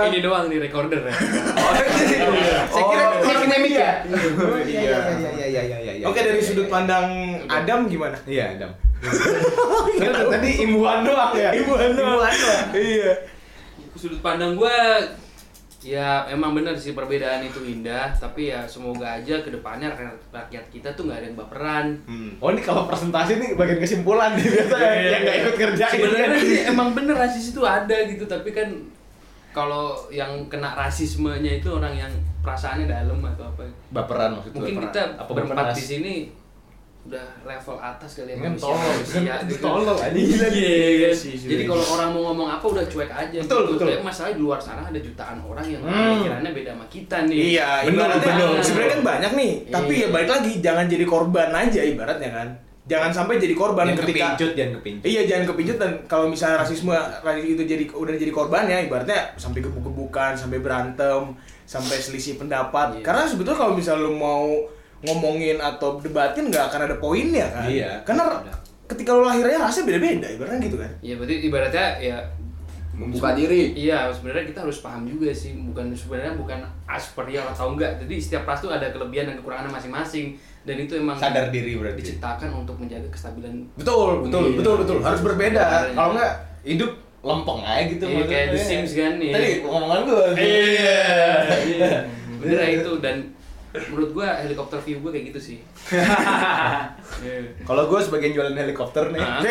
[SPEAKER 2] Eh.
[SPEAKER 3] Ini doang nih recorder ya.
[SPEAKER 4] Oh, iya.
[SPEAKER 2] Saya kira
[SPEAKER 4] Oh,
[SPEAKER 2] saya kira media.
[SPEAKER 1] Iya.
[SPEAKER 2] iya, iya, iya, iya.
[SPEAKER 1] Oke dari sudut pandang Adam gimana?
[SPEAKER 2] Iya, Adam. Tadi- Tadi imbuhan doang ya. Imbuhan doang.
[SPEAKER 1] Iya.
[SPEAKER 3] sudut pandang gue ya emang bener sih perbedaan itu indah tapi ya semoga aja kedepannya rakyat, rakyat kita tuh nggak ada yang baperan
[SPEAKER 2] Oh ini kalau presentasi nih bagian kesimpulan
[SPEAKER 3] gitu.
[SPEAKER 2] nih biasanya yang nggak ikut kan? kerjain.
[SPEAKER 3] sebenarnya sih emang bener rasis itu ada gitu tapi kan kalau yang kena rasismenya itu orang yang perasaannya dalam atau apa
[SPEAKER 2] baperan maksudnya.
[SPEAKER 3] mungkin kita berempat di sini udah level atas kali ya
[SPEAKER 2] Kan
[SPEAKER 3] manusia-
[SPEAKER 2] tolol,
[SPEAKER 3] manusia
[SPEAKER 2] kan
[SPEAKER 3] gitu.
[SPEAKER 2] tolol, anjing.
[SPEAKER 3] Iya,
[SPEAKER 1] Iya
[SPEAKER 3] kan?
[SPEAKER 1] sih,
[SPEAKER 3] Jadi
[SPEAKER 1] iya.
[SPEAKER 3] kalau orang mau ngomong apa udah cuek aja.
[SPEAKER 2] Betul, betul.
[SPEAKER 3] Kayak masalah di luar sana ada jutaan orang yang
[SPEAKER 2] Hmm.
[SPEAKER 3] pikirannya beda sama kita nih.
[SPEAKER 1] Iya,
[SPEAKER 2] Bener,
[SPEAKER 1] ibaratnya
[SPEAKER 2] bener.
[SPEAKER 1] sebenarnya kan banyak nih,
[SPEAKER 3] Iya.
[SPEAKER 1] tapi ya balik lagi jangan jadi korban aja ibaratnya kan. Jangan sampai jadi korban
[SPEAKER 2] Jangan
[SPEAKER 1] ketika
[SPEAKER 2] kepincut, jangan kepincut.
[SPEAKER 1] Iya, jangan kepincut dan kalau misalnya rasisme rasis itu jadi udah jadi korbannya ibaratnya sampai gebuk-gebukan, sampai berantem, sampai selisih pendapat.
[SPEAKER 3] Iya.
[SPEAKER 1] Karena sebetulnya kalau misalnya lu mau ngomongin atau debatin nggak akan ada poinnya kan.
[SPEAKER 2] Iya.
[SPEAKER 1] Karena ketika lo lahirnya rasanya beda-beda ibaratnya gitu kan
[SPEAKER 3] ya berarti ibaratnya ya
[SPEAKER 4] membuka diri
[SPEAKER 3] iya sebenarnya kita harus paham juga sih bukan sebenarnya bukan asperial atau enggak jadi setiap ras itu ada kelebihan dan kekurangan masing-masing dan itu emang
[SPEAKER 2] Sadar diri berarti.
[SPEAKER 3] diciptakan untuk menjaga kestabilan
[SPEAKER 2] Betul, betul,
[SPEAKER 3] Iya.
[SPEAKER 2] betul, betul. Harus berbeda.
[SPEAKER 3] Iya.
[SPEAKER 2] Kalau enggak hidup lempeng aja gitu
[SPEAKER 3] Iya, kayak The Sims kan, iya.
[SPEAKER 2] Tadi omongan gue.
[SPEAKER 3] Iya, bener lah itu dan menurut gua helikopter view gua kayak gitu sih Iya.
[SPEAKER 2] Kalau gue sebagai yang jualan helikopter nih,
[SPEAKER 3] Ah.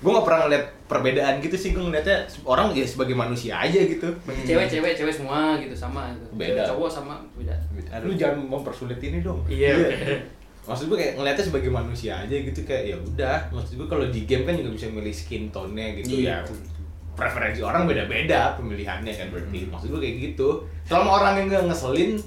[SPEAKER 2] gue nggak pernah ngeliat perbedaan gitu sih. Gue ngeliatnya orang ya sebagai manusia aja gitu.
[SPEAKER 3] cewek cewek cewek semua gitu sama gitu
[SPEAKER 2] Beda.
[SPEAKER 3] cowok sama beda
[SPEAKER 2] Aduh, Lu jangan mempersulit ini dong.
[SPEAKER 3] Iya.
[SPEAKER 2] Maksud gue kayak ngeliatnya sebagai manusia aja gitu kayak ya udah. Maksud gue kalau di game kan juga bisa milih skin tone-nya gitu ya.
[SPEAKER 3] Iya.
[SPEAKER 2] Preferensi orang beda-beda pemilihannya kan berarti. Maksud gue kayak gitu. Selama orang yang nggak ngeselin,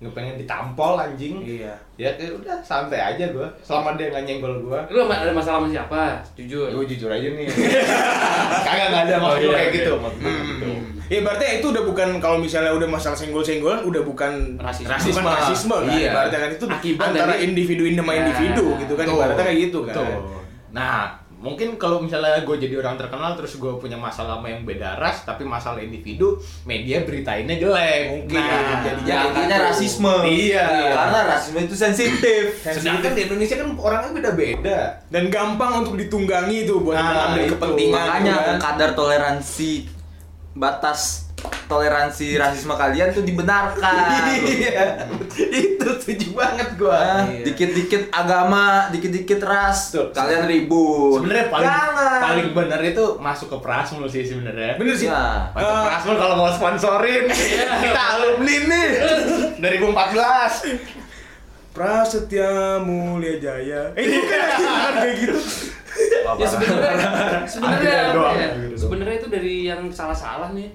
[SPEAKER 2] nggak pengen ditampol anjing.
[SPEAKER 1] Iya.
[SPEAKER 2] Ya kayak udah santai aja gue. Selama dia nggak nyenggol gue,
[SPEAKER 3] lu ama- ada masalah sama siapa jujur
[SPEAKER 2] gue jujur aja nih. Kagak nggak ada maksud
[SPEAKER 3] Oh,
[SPEAKER 2] gue
[SPEAKER 3] iya,
[SPEAKER 2] kayak
[SPEAKER 3] oke.
[SPEAKER 2] gitu. Maksud gue gitu.
[SPEAKER 1] Ya berarti itu udah bukan kalau misalnya udah masalah senggol-senggolan udah bukan
[SPEAKER 3] Rasisme.
[SPEAKER 1] bukan rasisme kan.
[SPEAKER 2] Iya.
[SPEAKER 1] Ibaratnya kan itu
[SPEAKER 3] Akibat
[SPEAKER 1] antara
[SPEAKER 3] dari-
[SPEAKER 1] individu sama
[SPEAKER 3] Nah,
[SPEAKER 1] individu gitu kan
[SPEAKER 2] Betul.
[SPEAKER 1] ibaratnya kayak gitu kan.
[SPEAKER 2] Betul. Nah, mungkin kalau misalnya gue jadi orang terkenal terus gue punya masalah sama yang beda ras tapi masalah individu, media beritainnya jelek mungkin
[SPEAKER 4] Nah,
[SPEAKER 2] jadi
[SPEAKER 4] ya,
[SPEAKER 2] jadi
[SPEAKER 4] karena
[SPEAKER 2] gitu.
[SPEAKER 4] rasisme.
[SPEAKER 2] Iya.
[SPEAKER 4] karena rasisme itu sensitif
[SPEAKER 2] Sedangkan di Indonesia kan orangnya beda-beda.
[SPEAKER 1] Dan gampang untuk ditunggangi itu buat
[SPEAKER 2] Nah,
[SPEAKER 1] mengambil
[SPEAKER 2] itu.
[SPEAKER 1] kepentingan. gitu
[SPEAKER 4] makanya
[SPEAKER 1] kan.
[SPEAKER 4] kadar toleransi batas toleransi rasisme kalian tuh dibenarkan
[SPEAKER 2] Iya. Itu setuju banget gue.
[SPEAKER 4] Ah,
[SPEAKER 1] Iya.
[SPEAKER 4] dikit-dikit agama, dikit-dikit ras,
[SPEAKER 2] Betul.
[SPEAKER 4] kalian ribut.
[SPEAKER 2] Sebenarnya paling
[SPEAKER 4] Jangan.
[SPEAKER 2] paling benar itu masuk ke Prasmul sih sebenarnya.
[SPEAKER 1] Bener sih.
[SPEAKER 4] Ya.
[SPEAKER 2] Masuk
[SPEAKER 1] Eh,
[SPEAKER 2] Prasmul kalau mau sponsorin kita alumni nih 2014.
[SPEAKER 1] Prasetya Mulia Jaya. Eh bukan anjing, bukan kayak gitu.
[SPEAKER 3] ya sebenarnya sebenarnya
[SPEAKER 2] Akhirnya
[SPEAKER 3] apa
[SPEAKER 2] doang,
[SPEAKER 3] ya?
[SPEAKER 2] akhirnya doang.
[SPEAKER 3] sebenarnya itu dari yang salah-salah nih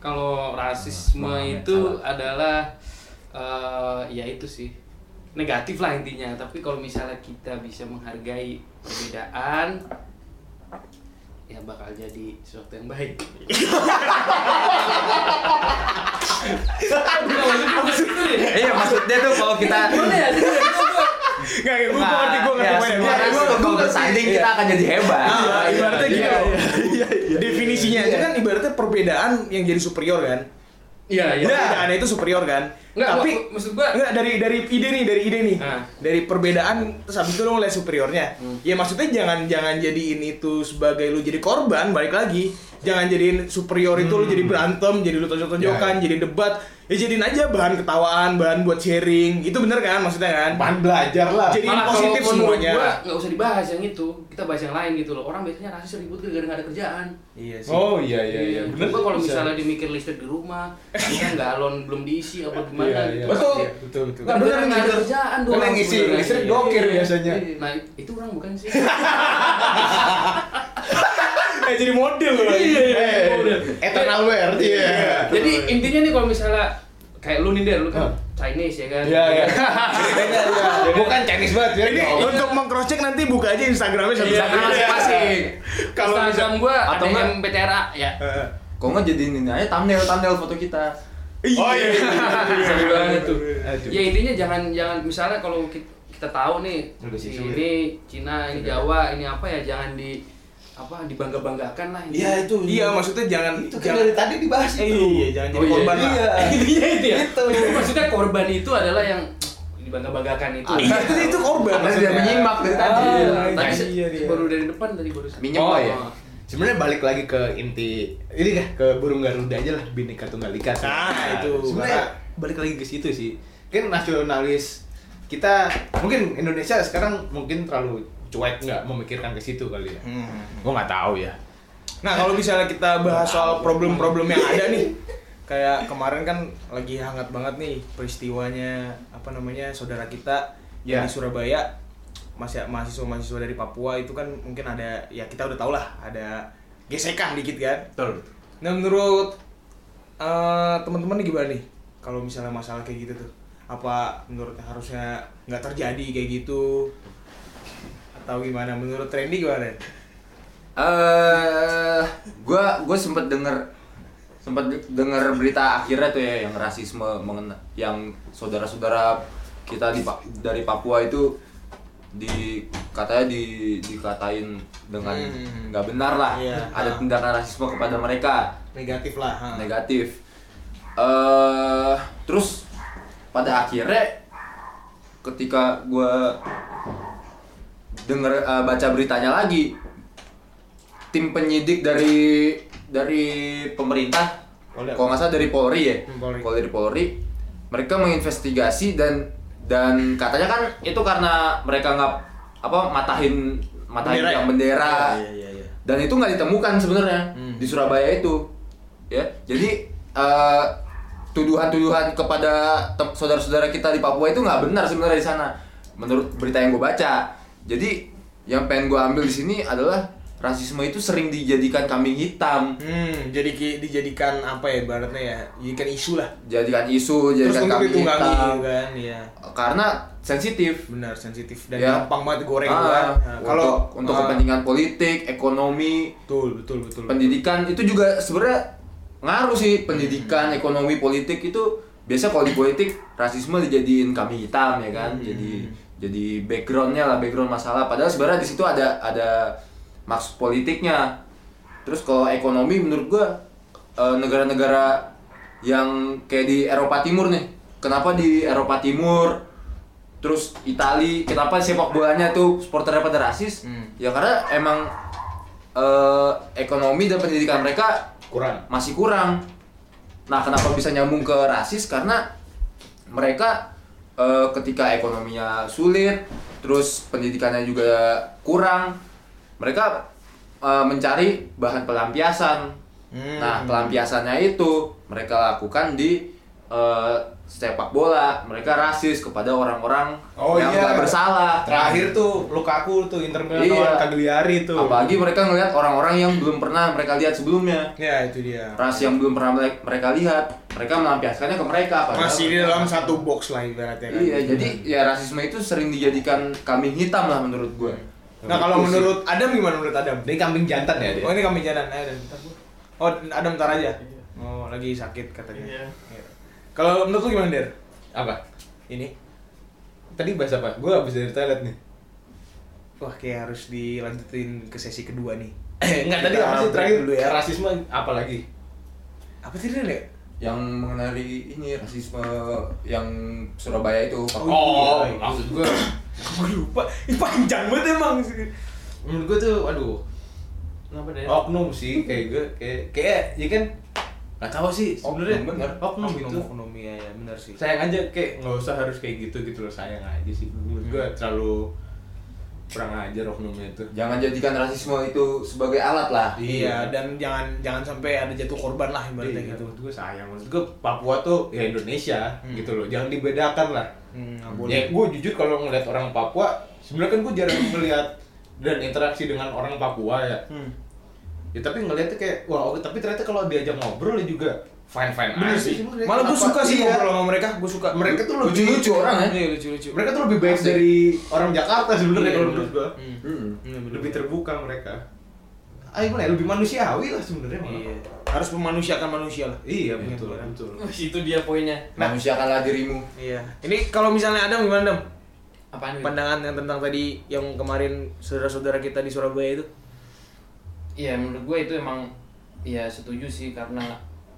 [SPEAKER 3] kalau rasisme itu adalah eh, ya itu sih negatif lah intinya tapi kalau misalnya kita bisa menghargai perbedaan ya bakal jadi sesuatu yang baik.
[SPEAKER 4] Iya, maksudnya tuh kalau kita
[SPEAKER 3] ya?
[SPEAKER 1] Enggak, gue ngerti gue
[SPEAKER 4] ya,
[SPEAKER 1] ngerti poinnya.
[SPEAKER 4] semua
[SPEAKER 1] Iya,
[SPEAKER 4] ras
[SPEAKER 1] gua-
[SPEAKER 4] kalau
[SPEAKER 1] gua ngerti.
[SPEAKER 4] bersanding kita akan jadi hebat.
[SPEAKER 1] Ah, ibaratnya
[SPEAKER 2] iya,
[SPEAKER 1] gitu. Definisinya aja kan ibaratnya perbedaan yang jadi superior kan.
[SPEAKER 3] Iya, iya.
[SPEAKER 1] Perbedaan itu superior kan.
[SPEAKER 3] Nggak,
[SPEAKER 1] Tapi
[SPEAKER 3] mak- maksud gua-
[SPEAKER 1] Nggak, dari dari ide nih, dari ide nih.
[SPEAKER 3] Ah.
[SPEAKER 1] Dari perbedaan terus habis itu lo ngeliat superiornya. Ya maksudnya jangan jangan jadiin itu sebagai lu jadi korban balik lagi. Jangan jadiin superior itu lu jadi berantem, jadi lu tonjok-tonjokan,
[SPEAKER 2] Ya, ya.
[SPEAKER 1] jadi debat. Ya jadiin aja bahan ketawaan, bahan buat sharing. Itu bener kan maksudnya kan?
[SPEAKER 2] Bahan Nah, belajar lah.
[SPEAKER 1] Jadi positif
[SPEAKER 3] kalau menurut
[SPEAKER 1] semuanya.
[SPEAKER 3] gua, nggak usah dibahas yang itu, kita bahas yang lain gitu loh. Orang biasanya rasis ribut gara-gara nggak ada kerjaan.
[SPEAKER 1] Iya sih.
[SPEAKER 2] Oh iya iya iya. Bener
[SPEAKER 3] Coba kalau
[SPEAKER 2] bisa.
[SPEAKER 3] misalnya dimikir listrik di rumah, kan galon belum diisi apa gimana
[SPEAKER 2] Iya,
[SPEAKER 3] gitu.
[SPEAKER 2] iya.
[SPEAKER 3] Pasti
[SPEAKER 2] Betul,
[SPEAKER 3] ya.
[SPEAKER 2] betul, betul.
[SPEAKER 3] Nggak bener nggak ada kerjaan doang.
[SPEAKER 2] gitu. Karena yang ngisi
[SPEAKER 3] sebenarnya.
[SPEAKER 2] listrik
[SPEAKER 3] Iya,
[SPEAKER 2] gokir
[SPEAKER 3] iya, iya.
[SPEAKER 2] biasanya. Iya,
[SPEAKER 3] Iya, Nah itu orang bukan sih.
[SPEAKER 1] Eh jadi model lu.
[SPEAKER 2] Eh, Eternal wear. Iya.
[SPEAKER 3] Jadi intinya nih kalau misalnya kayak lu nih der, lu kan
[SPEAKER 2] Hah.
[SPEAKER 3] Chinese ya kan.
[SPEAKER 2] Iya iya. Bedanya, iya. Bukan Chinese banget biar
[SPEAKER 1] Ini
[SPEAKER 2] nggak
[SPEAKER 1] untuk mengcross check nanti buka aja Instagramnya satu-satu. Iya.
[SPEAKER 3] Instagram masing-masing.
[SPEAKER 1] Kalau
[SPEAKER 3] Kalau Instagram gua ada
[SPEAKER 4] atau nggak-
[SPEAKER 3] yang PTRA ya.
[SPEAKER 1] Heeh.
[SPEAKER 4] Kok nggak jadi ini aja thumbnail thumbnail foto kita.
[SPEAKER 1] Oh iya.
[SPEAKER 3] Seru banget tuh.
[SPEAKER 2] Aduh.
[SPEAKER 3] Ya intinya jangan jangan misalnya kalau kita, kita tahu nih
[SPEAKER 2] Udah sih, sudah.
[SPEAKER 3] ini Cina, ini Jawa, ini apa ya jangan di apa dibangga-banggakan lah ini.
[SPEAKER 2] Iya itu.
[SPEAKER 1] Iya maksudnya jangan
[SPEAKER 2] Itu
[SPEAKER 1] jangan
[SPEAKER 2] kan dari tadi dibahas
[SPEAKER 1] Eh,
[SPEAKER 2] itu.
[SPEAKER 1] iya jangan jadi
[SPEAKER 3] Oh, iya,
[SPEAKER 1] korban
[SPEAKER 2] Iya.
[SPEAKER 1] lah.
[SPEAKER 2] Iya itu ya.
[SPEAKER 4] Gitu.
[SPEAKER 3] Maksudnya korban itu adalah yang dibangga-banggakan itu.
[SPEAKER 1] Iya itu itu korban.
[SPEAKER 4] Karena dia menyimak dari
[SPEAKER 3] Tadi,
[SPEAKER 4] tadi.
[SPEAKER 3] tadi
[SPEAKER 1] iya,
[SPEAKER 3] se-
[SPEAKER 1] iya, iya.
[SPEAKER 3] baru dari depan tadi baru.
[SPEAKER 4] Minyak
[SPEAKER 2] Oh
[SPEAKER 4] kok.
[SPEAKER 3] ya.
[SPEAKER 2] iya. Sebenarnya balik lagi ke inti ini kah ke burung garuda aja lah bineka tunggal ika. sih.
[SPEAKER 1] Nah, itu.
[SPEAKER 2] Sebenarnya balik lagi ke situ sih. Kan nasionalis kita mungkin Indonesia sekarang mungkin terlalu cuek nggak memikirkan ke situ kali ya.
[SPEAKER 1] Hmm,
[SPEAKER 2] Gua nggak tahu ya.
[SPEAKER 1] Nah kalau misalnya kita bahas soal problem-problem yang ada nih, kayak kemarin kan lagi hangat banget nih peristiwanya apa namanya saudara kita yang di
[SPEAKER 2] Ya.
[SPEAKER 1] Surabaya masih mahasiswa-mahasiswa dari Papua itu kan mungkin ada ya kita udah tau lah ada gesekan dikit kan.
[SPEAKER 2] Betul.
[SPEAKER 1] Nah menurut eh, teman-teman nih gimana nih kalau misalnya masalah kayak gitu tuh apa menurut harusnya nggak terjadi kayak gitu atau gimana menurut Trendy gimana?
[SPEAKER 4] Eh, gua gua sempet denger sempat denger berita akhirnya tuh ya yang rasisme mengena yang saudara-saudara kita di Pa- dari Papua itu di katanya di dikatain dengan
[SPEAKER 1] Hmm.
[SPEAKER 4] nggak benar lah
[SPEAKER 1] Iya.
[SPEAKER 4] ada tindakan rasisme kepada mereka
[SPEAKER 1] Negatif lah. ha.
[SPEAKER 4] negatif eh terus pada akhirnya ketika gua denger eh, baca beritanya lagi tim penyidik dari dari pemerintah
[SPEAKER 2] Polda.
[SPEAKER 4] kalau nggak salah dari Polri ya
[SPEAKER 1] Oh, Hmm, Polri.
[SPEAKER 4] kalau dari Polri mereka menginvestigasi dan dan katanya kan itu karena mereka nggak apa matahin matahin
[SPEAKER 1] Bendera ya?
[SPEAKER 4] yang bendera
[SPEAKER 1] Iya, iya, iya.
[SPEAKER 4] dan itu nggak ditemukan sebenarnya
[SPEAKER 1] Hmm.
[SPEAKER 4] di Surabaya itu ya jadi eh, tuduhan-tuduhan kepada tem- saudara-saudara kita di Papua itu nggak benar sebenarnya di sana menurut berita yang gue baca jadi yang pengen gue ambil di sini adalah rasisme itu sering dijadikan kambing hitam
[SPEAKER 1] Hmm, jadi ki- dijadikan apa ya ibaratnya ya? Jadikan isu lah.
[SPEAKER 4] jadikan isu
[SPEAKER 1] Terus
[SPEAKER 4] jadikan
[SPEAKER 1] untuk
[SPEAKER 4] kambing
[SPEAKER 1] ditunggangi
[SPEAKER 4] hitam
[SPEAKER 1] gitu kan, iya.
[SPEAKER 4] karena sensitif
[SPEAKER 1] Benar, sensitif dan
[SPEAKER 4] Ya.
[SPEAKER 1] gampang banget goreng
[SPEAKER 4] Ah,
[SPEAKER 1] kan. Nah,
[SPEAKER 4] untuk- untuk
[SPEAKER 1] ah,
[SPEAKER 4] kepentingan politik ekonomi
[SPEAKER 1] betul, betul, betul.
[SPEAKER 4] pendidikan itu juga sebenarnya ngaruh sih pendidikan
[SPEAKER 1] Hmm.
[SPEAKER 4] ekonomi politik itu biasa kalau di politik rasisme dijadiin kami hitam ya kan
[SPEAKER 1] Hmm.
[SPEAKER 4] jadi jadi backgroundnya lah background masalah padahal sebenarnya di situ ada ada maksud politiknya terus kalau ekonomi menurut gua eh, negara-negara yang kayak di Eropa Timur nih kenapa di Eropa Timur terus Itali kenapa sepak bolanya tuh supporternya pada rasis
[SPEAKER 1] Hmm.
[SPEAKER 4] ya karena emang eh, ekonomi dan pendidikan mereka
[SPEAKER 2] kurang
[SPEAKER 4] masih kurang nah kenapa bisa nyambung ke rasis karena mereka eh, ketika ekonominya sulit terus pendidikannya juga kurang mereka eh, mencari bahan pelampiasan
[SPEAKER 1] Hmm.
[SPEAKER 4] nah pelampiasannya itu mereka lakukan di eh, sepak bola mereka rasis kepada orang-orang
[SPEAKER 2] Oh,
[SPEAKER 4] yang
[SPEAKER 2] iya.
[SPEAKER 4] nggak bersalah
[SPEAKER 2] terakhir tuh Lukaku tuh Inter Milan
[SPEAKER 4] Iya.
[SPEAKER 2] lawan Cagliari tuh
[SPEAKER 4] apalagi mereka ngelihat orang-orang yang belum pernah mereka lihat sebelumnya
[SPEAKER 1] Ya, itu dia.
[SPEAKER 4] ras yang belum pernah mereka- mereka lihat mereka melampiaskannya ke mereka padahal
[SPEAKER 1] Masih di
[SPEAKER 4] mereka-
[SPEAKER 1] dalam satu box lah ibaratnya kan.
[SPEAKER 4] iya jadi ya rasisme itu sering dijadikan kambing hitam lah menurut gue
[SPEAKER 1] Nah, kalau menurut Adam gimana menurut Adam?
[SPEAKER 2] ini kambing jantan ya Iya dia
[SPEAKER 1] Oh, ini kami jalan. Eh, Adam, bentar gua. Oh, Adam bentar aja. Oh, lagi sakit katanya.
[SPEAKER 3] Iya.
[SPEAKER 1] Iya. Kalau menurut lu gimana, Der?
[SPEAKER 2] apa
[SPEAKER 1] Ini.
[SPEAKER 2] tadi bahas apa gue habis dari toilet nih
[SPEAKER 1] Wah, kayak harus dilanjutin ke sesi kedua nih.
[SPEAKER 2] Enggak tadi
[SPEAKER 1] Kita
[SPEAKER 2] apa sih
[SPEAKER 1] break
[SPEAKER 2] terakhir
[SPEAKER 1] dulu ya.
[SPEAKER 2] rasisme apa lagi
[SPEAKER 1] Apa sih Der? ya?
[SPEAKER 4] yang mengenai ini rasisme yang Surabaya itu
[SPEAKER 1] Oh,
[SPEAKER 2] oh
[SPEAKER 1] iya.
[SPEAKER 2] maksud gue
[SPEAKER 1] Gue lupa. Ih, panjang banget emang.
[SPEAKER 2] menurut gue tuh aduh
[SPEAKER 3] Kenapa deh?
[SPEAKER 1] Oh.
[SPEAKER 2] oknum sih kayak gue kayak kayak ya kan nggak tahu sih sebenarnya
[SPEAKER 4] Oknum, bener.
[SPEAKER 2] oknum gitu
[SPEAKER 1] Ekonomi ya, ya benar sih.
[SPEAKER 2] sayang aja kayak nggak usah harus kayak gitu gitu loh sayang aja sih menurut gue terlalu kurang ajar oknumnya itu
[SPEAKER 4] jangan jadikan rasisme itu sebagai alat lah
[SPEAKER 1] Iya, dan jangan jangan sampai ada jatuh korban lah ibaratnya
[SPEAKER 2] Iya,
[SPEAKER 1] gitu.
[SPEAKER 2] menurut gue sayang menurut gue Papua tuh ya Indonesia
[SPEAKER 1] Hmm.
[SPEAKER 2] gitu loh jangan dibedakan lah
[SPEAKER 1] Hmm, nggak
[SPEAKER 2] ya
[SPEAKER 1] boleh.
[SPEAKER 2] gue jujur kalau ngeliat orang Papua sebenarnya kan gue jarang melihat dan interaksi dengan orang Papua ya
[SPEAKER 1] Hmm.
[SPEAKER 2] ya tapi ngeliatnya kayak wah oke tapi ternyata kalau diajak ngobrol ya juga fine fine
[SPEAKER 1] Bener sih. Malah gue suka
[SPEAKER 2] iya.
[SPEAKER 1] sih ngobrol sama Iya. mereka, gue suka.
[SPEAKER 2] mereka tuh lebih
[SPEAKER 4] lucu-lucu orang ya
[SPEAKER 1] Iya, lucu-lucu.
[SPEAKER 2] mereka tuh lebih baik
[SPEAKER 4] Asik.
[SPEAKER 2] dari orang Jakarta sebenarnya
[SPEAKER 1] Iya,
[SPEAKER 2] kalau
[SPEAKER 1] bener.
[SPEAKER 2] menurut gua
[SPEAKER 1] Hmm.
[SPEAKER 4] Hmm.
[SPEAKER 1] Bener, bener,
[SPEAKER 2] lebih
[SPEAKER 1] bener.
[SPEAKER 2] terbuka mereka ah gimana ya lebih manusiawi lah sebenarnya malah.
[SPEAKER 1] Iya. Harus memanusiakan manusia lah.
[SPEAKER 2] iya betul
[SPEAKER 1] Iya.
[SPEAKER 2] betul
[SPEAKER 3] Wih, itu dia poinnya.
[SPEAKER 1] Nah,
[SPEAKER 4] manusiakanlah dirimu
[SPEAKER 1] Iya. Ini kalau misalnya Adam gimana, Adam?
[SPEAKER 3] Apaan? Win?
[SPEAKER 1] Pandangan yang tentang tadi yang kemarin saudara-saudara kita di Surabaya itu?
[SPEAKER 3] Iya menurut gue itu emang ya setuju sih karena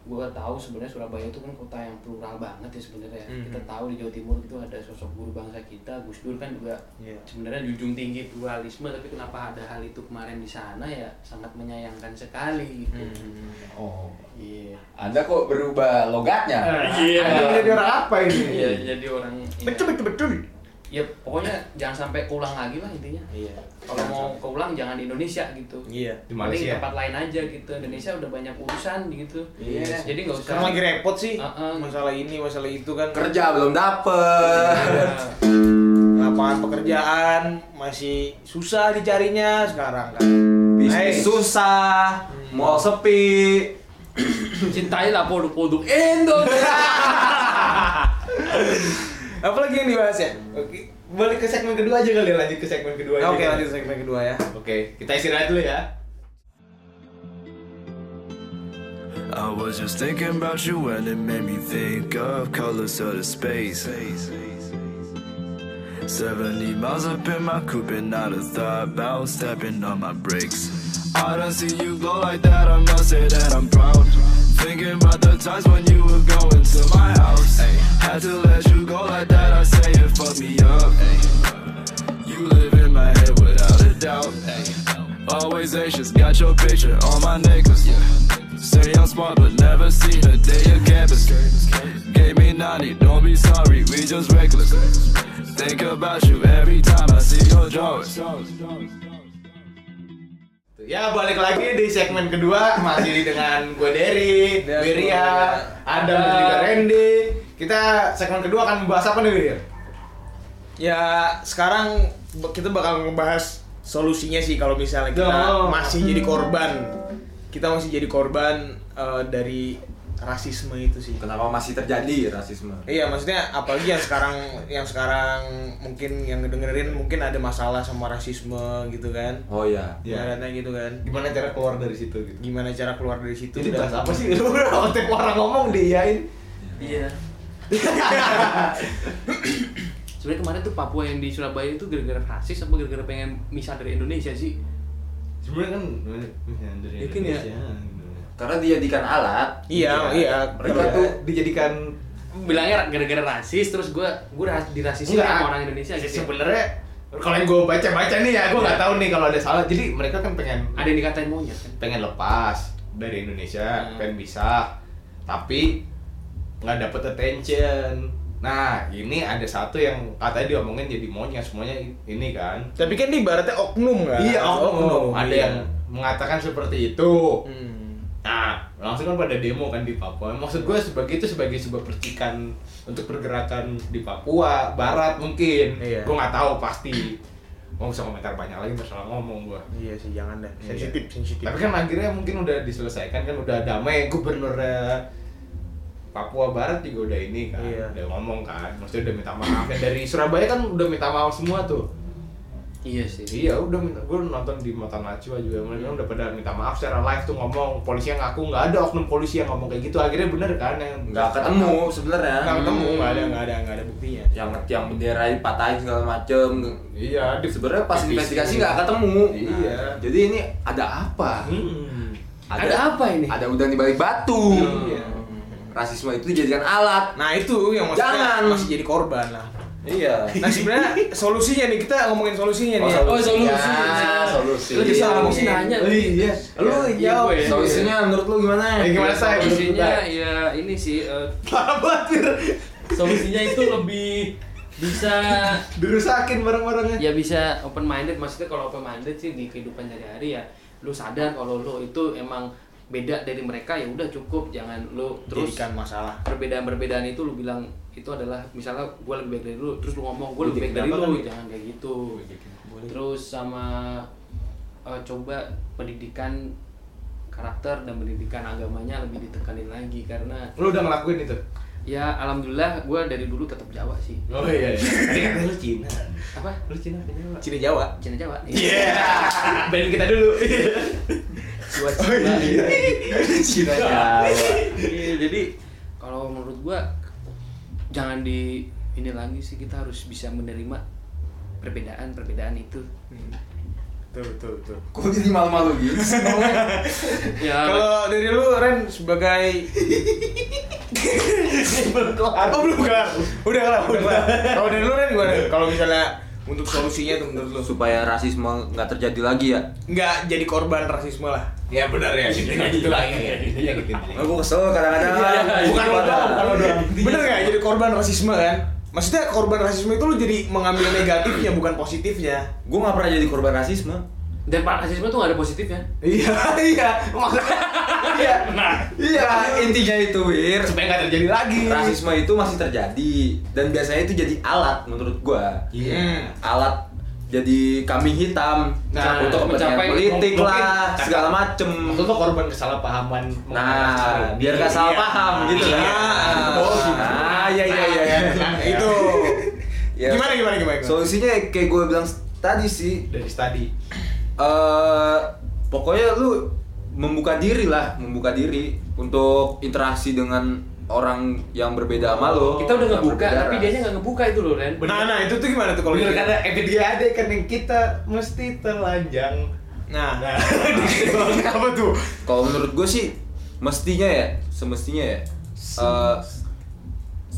[SPEAKER 3] gue tahu sebenarnya Surabaya itu kan kota yang plural banget ya sebenarnya.
[SPEAKER 1] Mhm.
[SPEAKER 3] Kita tahu di Jawa Timur itu ada sosok guru bangsa kita Gus Dur kan juga
[SPEAKER 1] Iya.
[SPEAKER 3] sebenarnya junjung tinggi pluralisme tapi kenapa ada hal itu kemarin di sana ya sangat menyayangkan sekali. gitu.
[SPEAKER 1] Hmm.
[SPEAKER 4] oh
[SPEAKER 3] Iya.
[SPEAKER 4] anda kok berubah logatnya
[SPEAKER 3] Iya.
[SPEAKER 2] Ada jadi orang apa ini
[SPEAKER 3] Iya
[SPEAKER 1] Hmm.
[SPEAKER 3] jadi orang. ya-
[SPEAKER 1] Betul, betul, betul.
[SPEAKER 3] Ya pokoknya jangan sampai keulang lagi lah intinya.
[SPEAKER 1] Iya.
[SPEAKER 3] Kalau mau keulang jangan di Indonesia gitu.
[SPEAKER 1] Iya.
[SPEAKER 2] di
[SPEAKER 3] Paling
[SPEAKER 2] Malaysia
[SPEAKER 3] tempat lain aja gitu. Indonesia udah banyak urusan gitu.
[SPEAKER 4] Iya.
[SPEAKER 3] Jadi nggak usah.
[SPEAKER 1] Sekarang lagi repot sih
[SPEAKER 3] Heeh.
[SPEAKER 1] masalah ini, masalah itu kan.
[SPEAKER 4] kerja belum dapet
[SPEAKER 3] Iya.
[SPEAKER 1] lapangan pekerjaan masih susah dicarinya sekarang kan.
[SPEAKER 4] bisnis
[SPEAKER 1] Hey. Hmm.
[SPEAKER 4] susah mall sepi
[SPEAKER 3] Cintailah produk-produk Indonesia.
[SPEAKER 1] Apalagi yang dibahas ya? Oke,
[SPEAKER 2] balik ke segmen kedua aja kali ya lanjut ke segmen kedua aja
[SPEAKER 1] Oke,
[SPEAKER 2] kali.
[SPEAKER 1] lanjut segmen kedua ya.
[SPEAKER 2] oke kita istirahat dulu ya
[SPEAKER 6] I was just thinking about you when it made me think of colors of the space. 70 miles up in my coupe and not a thought about stepping on my brakes. I don't see you glow like that, I must say that I'm proud. Thinking about the times when you were going to my house. Had to let you go like that, I say it fucked me up. You live in my head without a doubt. Always anxious, got your picture on my niggas. Say I'm smart, but never seen a day of campus. Gave me 90, don't be sorry, we just reckless. Think about you every time I see your drawings.
[SPEAKER 2] Ya balik lagi di segmen kedua masih dengan gue Derry,
[SPEAKER 3] Dan
[SPEAKER 2] Wiria,
[SPEAKER 3] gue-
[SPEAKER 2] Adam dan
[SPEAKER 3] Adam.
[SPEAKER 2] juga Randy. Kita segmen kedua akan membahas apa nih Wiria?
[SPEAKER 1] Ya sekarang be- kita bakal ngebahas solusinya sih kalau misalnya kita
[SPEAKER 2] Duh.
[SPEAKER 1] masih jadi korban, kita masih jadi korban eh, dari rasisme itu sih.
[SPEAKER 4] Kenapa masih terjadi rasisme?
[SPEAKER 1] Iya maksudnya apalagi yang sekarang yang sekarang mungkin yang ngedengerin mungkin ada masalah sama rasisme gitu kan.
[SPEAKER 4] Oh ya.
[SPEAKER 2] Iya.
[SPEAKER 1] Ibaratnya gitu kan.
[SPEAKER 2] Gimana cara keluar dari situ gitu?
[SPEAKER 1] Gimana cara keluar dari situ?
[SPEAKER 2] Itu
[SPEAKER 1] dan-
[SPEAKER 2] bahas apa sih? Lu udah tiap orang ngomong diiyain.
[SPEAKER 3] Iya. Sebenarnya kemarin tuh Papua yang di Surabaya itu gara-gara rasis apa gara-gara pengen misah dari Indonesia sih?
[SPEAKER 2] Sebenarnya kan
[SPEAKER 3] Yakin ya?
[SPEAKER 4] Karena dijadikan alat.
[SPEAKER 1] Iya, iya.
[SPEAKER 2] gitu.
[SPEAKER 4] Mereka
[SPEAKER 2] Mereka
[SPEAKER 4] tuh
[SPEAKER 2] tuh dijadikan
[SPEAKER 3] Bilangnya gara-gara rasis terus gua gua ras- dirasisin
[SPEAKER 2] Enggak.
[SPEAKER 3] sama orang Indonesia gitu. ya.
[SPEAKER 2] sebenarnya kalau yang gue baca-baca nih ya, gue
[SPEAKER 1] Iya.
[SPEAKER 2] nggak tahu nih kalau ada salah. Jadi mereka kan pengen
[SPEAKER 3] Ada yang dikatain monyet kan.
[SPEAKER 2] pengen lepas dari Indonesia,
[SPEAKER 1] Hmm.
[SPEAKER 2] pengen bisa, tapi nggak dapet attention. Nah, ini ada satu yang katanya diomongin jadi monyet semuanya ini kan.
[SPEAKER 1] Tapi kan ini ibaratnya oknum kan?
[SPEAKER 2] Iya, oknum. Ada
[SPEAKER 1] iya.
[SPEAKER 2] yang mengatakan seperti itu.
[SPEAKER 1] Hmm.
[SPEAKER 2] Nah, langsung kan pada demo kan di Papua. Maksud gue sebagai itu sebagai sebuah percikan untuk pergerakan di Papua Barat mungkin.
[SPEAKER 1] Iya.
[SPEAKER 2] Gue nggak tahu pasti. Mau bisa komentar banyak lagi masalah ngomong gue.
[SPEAKER 1] Iya sih jangan dah. Sensitif, sensitif.
[SPEAKER 2] Tapi kan akhirnya mungkin udah diselesaikan kan udah damai gubernur eh, Papua Barat juga udah ini kan,
[SPEAKER 1] Iya.
[SPEAKER 2] udah ngomong kan, maksudnya udah minta maaf. Dan dari Surabaya kan udah minta maaf semua tuh.
[SPEAKER 3] Iya sih.
[SPEAKER 2] Iya udah minta, gue nonton di Mata Najwa juga mereka udah pada minta maaf secara live tuh ngomong polisi yang ngaku nggak ada oknum polisi yang ngomong kayak gitu akhirnya bener kan yang
[SPEAKER 4] nggak ketemu sebenarnya.
[SPEAKER 1] nggak ketemu, nggak ada, nggak ada, nggak ada buktinya.
[SPEAKER 4] Yang yang bendera dipatahin segala macem.
[SPEAKER 2] Iya, di-
[SPEAKER 4] Sebenarnya pas
[SPEAKER 2] di-
[SPEAKER 4] investigasi nggak ketemu.
[SPEAKER 2] Iya.
[SPEAKER 4] Jadi ini ada apa?
[SPEAKER 2] Hmm.
[SPEAKER 3] Ada, apa ini?
[SPEAKER 4] Ada udang di balik batu.
[SPEAKER 2] Iya.
[SPEAKER 4] Rasisme itu dijadikan alat.
[SPEAKER 1] Nah itu yang maksudnya
[SPEAKER 4] Jangan.
[SPEAKER 1] masih jadi korban lah.
[SPEAKER 4] Iya.
[SPEAKER 1] Nah sebenarnya solusinya nih kita ngomongin solusinya nih. ya.
[SPEAKER 3] Oh, solusi.
[SPEAKER 4] Ya, solusi.
[SPEAKER 3] Lu bisa
[SPEAKER 1] Iya.
[SPEAKER 3] ngomong nanya.
[SPEAKER 2] Oh, iya. Lu
[SPEAKER 3] Iya,
[SPEAKER 2] jawab.
[SPEAKER 3] gua ya.
[SPEAKER 4] Solusinya menurut lu gimana?
[SPEAKER 2] Eh, gimana saya?
[SPEAKER 3] Solusinya ya ini sih eh, solusinya itu lebih bisa
[SPEAKER 2] Dirusakin bareng-barengnya.
[SPEAKER 3] ya bisa open minded maksudnya kalau open minded sih di kehidupan sehari-hari ya lu sadar kalau lu itu emang beda dari mereka ya udah cukup jangan lu terus
[SPEAKER 1] Jadikan
[SPEAKER 2] kan
[SPEAKER 1] masalah.
[SPEAKER 3] perbedaan-perbedaan itu lu bilang itu adalah misalnya gue lebih baik dari lu terus lu ngomong gue
[SPEAKER 2] Gua
[SPEAKER 3] lebih baik
[SPEAKER 2] jadi
[SPEAKER 3] dari
[SPEAKER 2] kenapa
[SPEAKER 3] lu
[SPEAKER 2] kan?
[SPEAKER 3] jangan kayak gitu
[SPEAKER 2] iya.
[SPEAKER 3] terus sama eh, coba pendidikan karakter dan pendidikan agamanya lebih ditekanin lagi karena
[SPEAKER 2] Lu udah ngelakuin itu?
[SPEAKER 3] ya alhamdulillah gue dari dulu tetap Jawa sih
[SPEAKER 2] Oh iya iya. Tadi katanya lu Cina.
[SPEAKER 3] apa
[SPEAKER 2] Lu Cina kenapa?
[SPEAKER 1] Cina Jawa.
[SPEAKER 3] Cina Jawa
[SPEAKER 2] Iya. Band kita dulu.
[SPEAKER 3] Gua Cina.
[SPEAKER 4] Iya. Cina Jawa.
[SPEAKER 3] Iya, jadi kalau menurut gua jangan di ini lagi sih kita harus bisa menerima perbedaan-perbedaan itu.
[SPEAKER 1] Betul, betul, betul.
[SPEAKER 4] Kok jadi malu-malu gitu?
[SPEAKER 3] Ya,
[SPEAKER 1] Kalau dari lu Ren sebagai Aku belum kelar. Udah kelar, udah kelar. Kalau dari lu Ren gimana? Kalau misalnya untuk solusinya tuh menurut lu
[SPEAKER 4] Supaya rasisme nggak terjadi lagi ya.
[SPEAKER 1] nggak jadi korban rasisme lah.
[SPEAKER 2] Ya benar ya. Intinya gitu lagi ya. Intinya gitu.
[SPEAKER 4] Aku kesel kadang-kadang.
[SPEAKER 1] Bukan lo doang, bukan lo doang.
[SPEAKER 2] Intinya-
[SPEAKER 1] Bener nggak jadi korban rasisme kan? Maksudnya korban rasisme itu lu jadi mengambil negatifnya bukan positifnya.
[SPEAKER 4] Gue nggak pernah jadi korban rasisme.
[SPEAKER 3] dan Pak rasisme tuh gak ada positifnya.
[SPEAKER 1] Iya, iya.
[SPEAKER 2] Iya. Iya. Nah,
[SPEAKER 4] Iya, intinya itu Wir.
[SPEAKER 2] supaya nggak terjadi lagi.
[SPEAKER 4] Rasisme itu masih terjadi dan biasanya itu jadi alat menurut gua.
[SPEAKER 2] Iya.
[SPEAKER 4] Alat jadi kambing hitam
[SPEAKER 2] Nah,
[SPEAKER 4] untuk kepentingan
[SPEAKER 3] mencapai-
[SPEAKER 4] politik
[SPEAKER 2] mungkin-
[SPEAKER 4] lah segala macem.
[SPEAKER 2] Maksud lo korban kesalahpahaman
[SPEAKER 4] Nah, biar gak salah paham gitu kan.
[SPEAKER 2] Iya.
[SPEAKER 1] Oh, gitu.
[SPEAKER 4] Ah, iya iya iya.
[SPEAKER 1] Nah, itu.
[SPEAKER 4] Ya.
[SPEAKER 1] Gimana gimana gimana? gimana?
[SPEAKER 4] Solusinya kayak gue bilang tadi sih,
[SPEAKER 2] Dari tadi
[SPEAKER 4] eh pokoknya lu membuka diri lah, membuka diri untuk interaksi dengan orang yang berbeda sama lo.
[SPEAKER 3] Kita udah
[SPEAKER 4] yang
[SPEAKER 3] ngebuka,
[SPEAKER 4] berbeda
[SPEAKER 3] tapi
[SPEAKER 4] ras.
[SPEAKER 3] dia Oh, nggak ngebuka itu loh, Ren.
[SPEAKER 1] Nah, nah itu tuh gimana tuh kalau
[SPEAKER 2] Bener
[SPEAKER 1] gitu?
[SPEAKER 2] karena efek dia ada kan yang kita mesti telanjang.
[SPEAKER 1] Nah,
[SPEAKER 2] Nah, apa tuh?
[SPEAKER 4] Kalau menurut gue sih mestinya ya, semestinya ya. eh,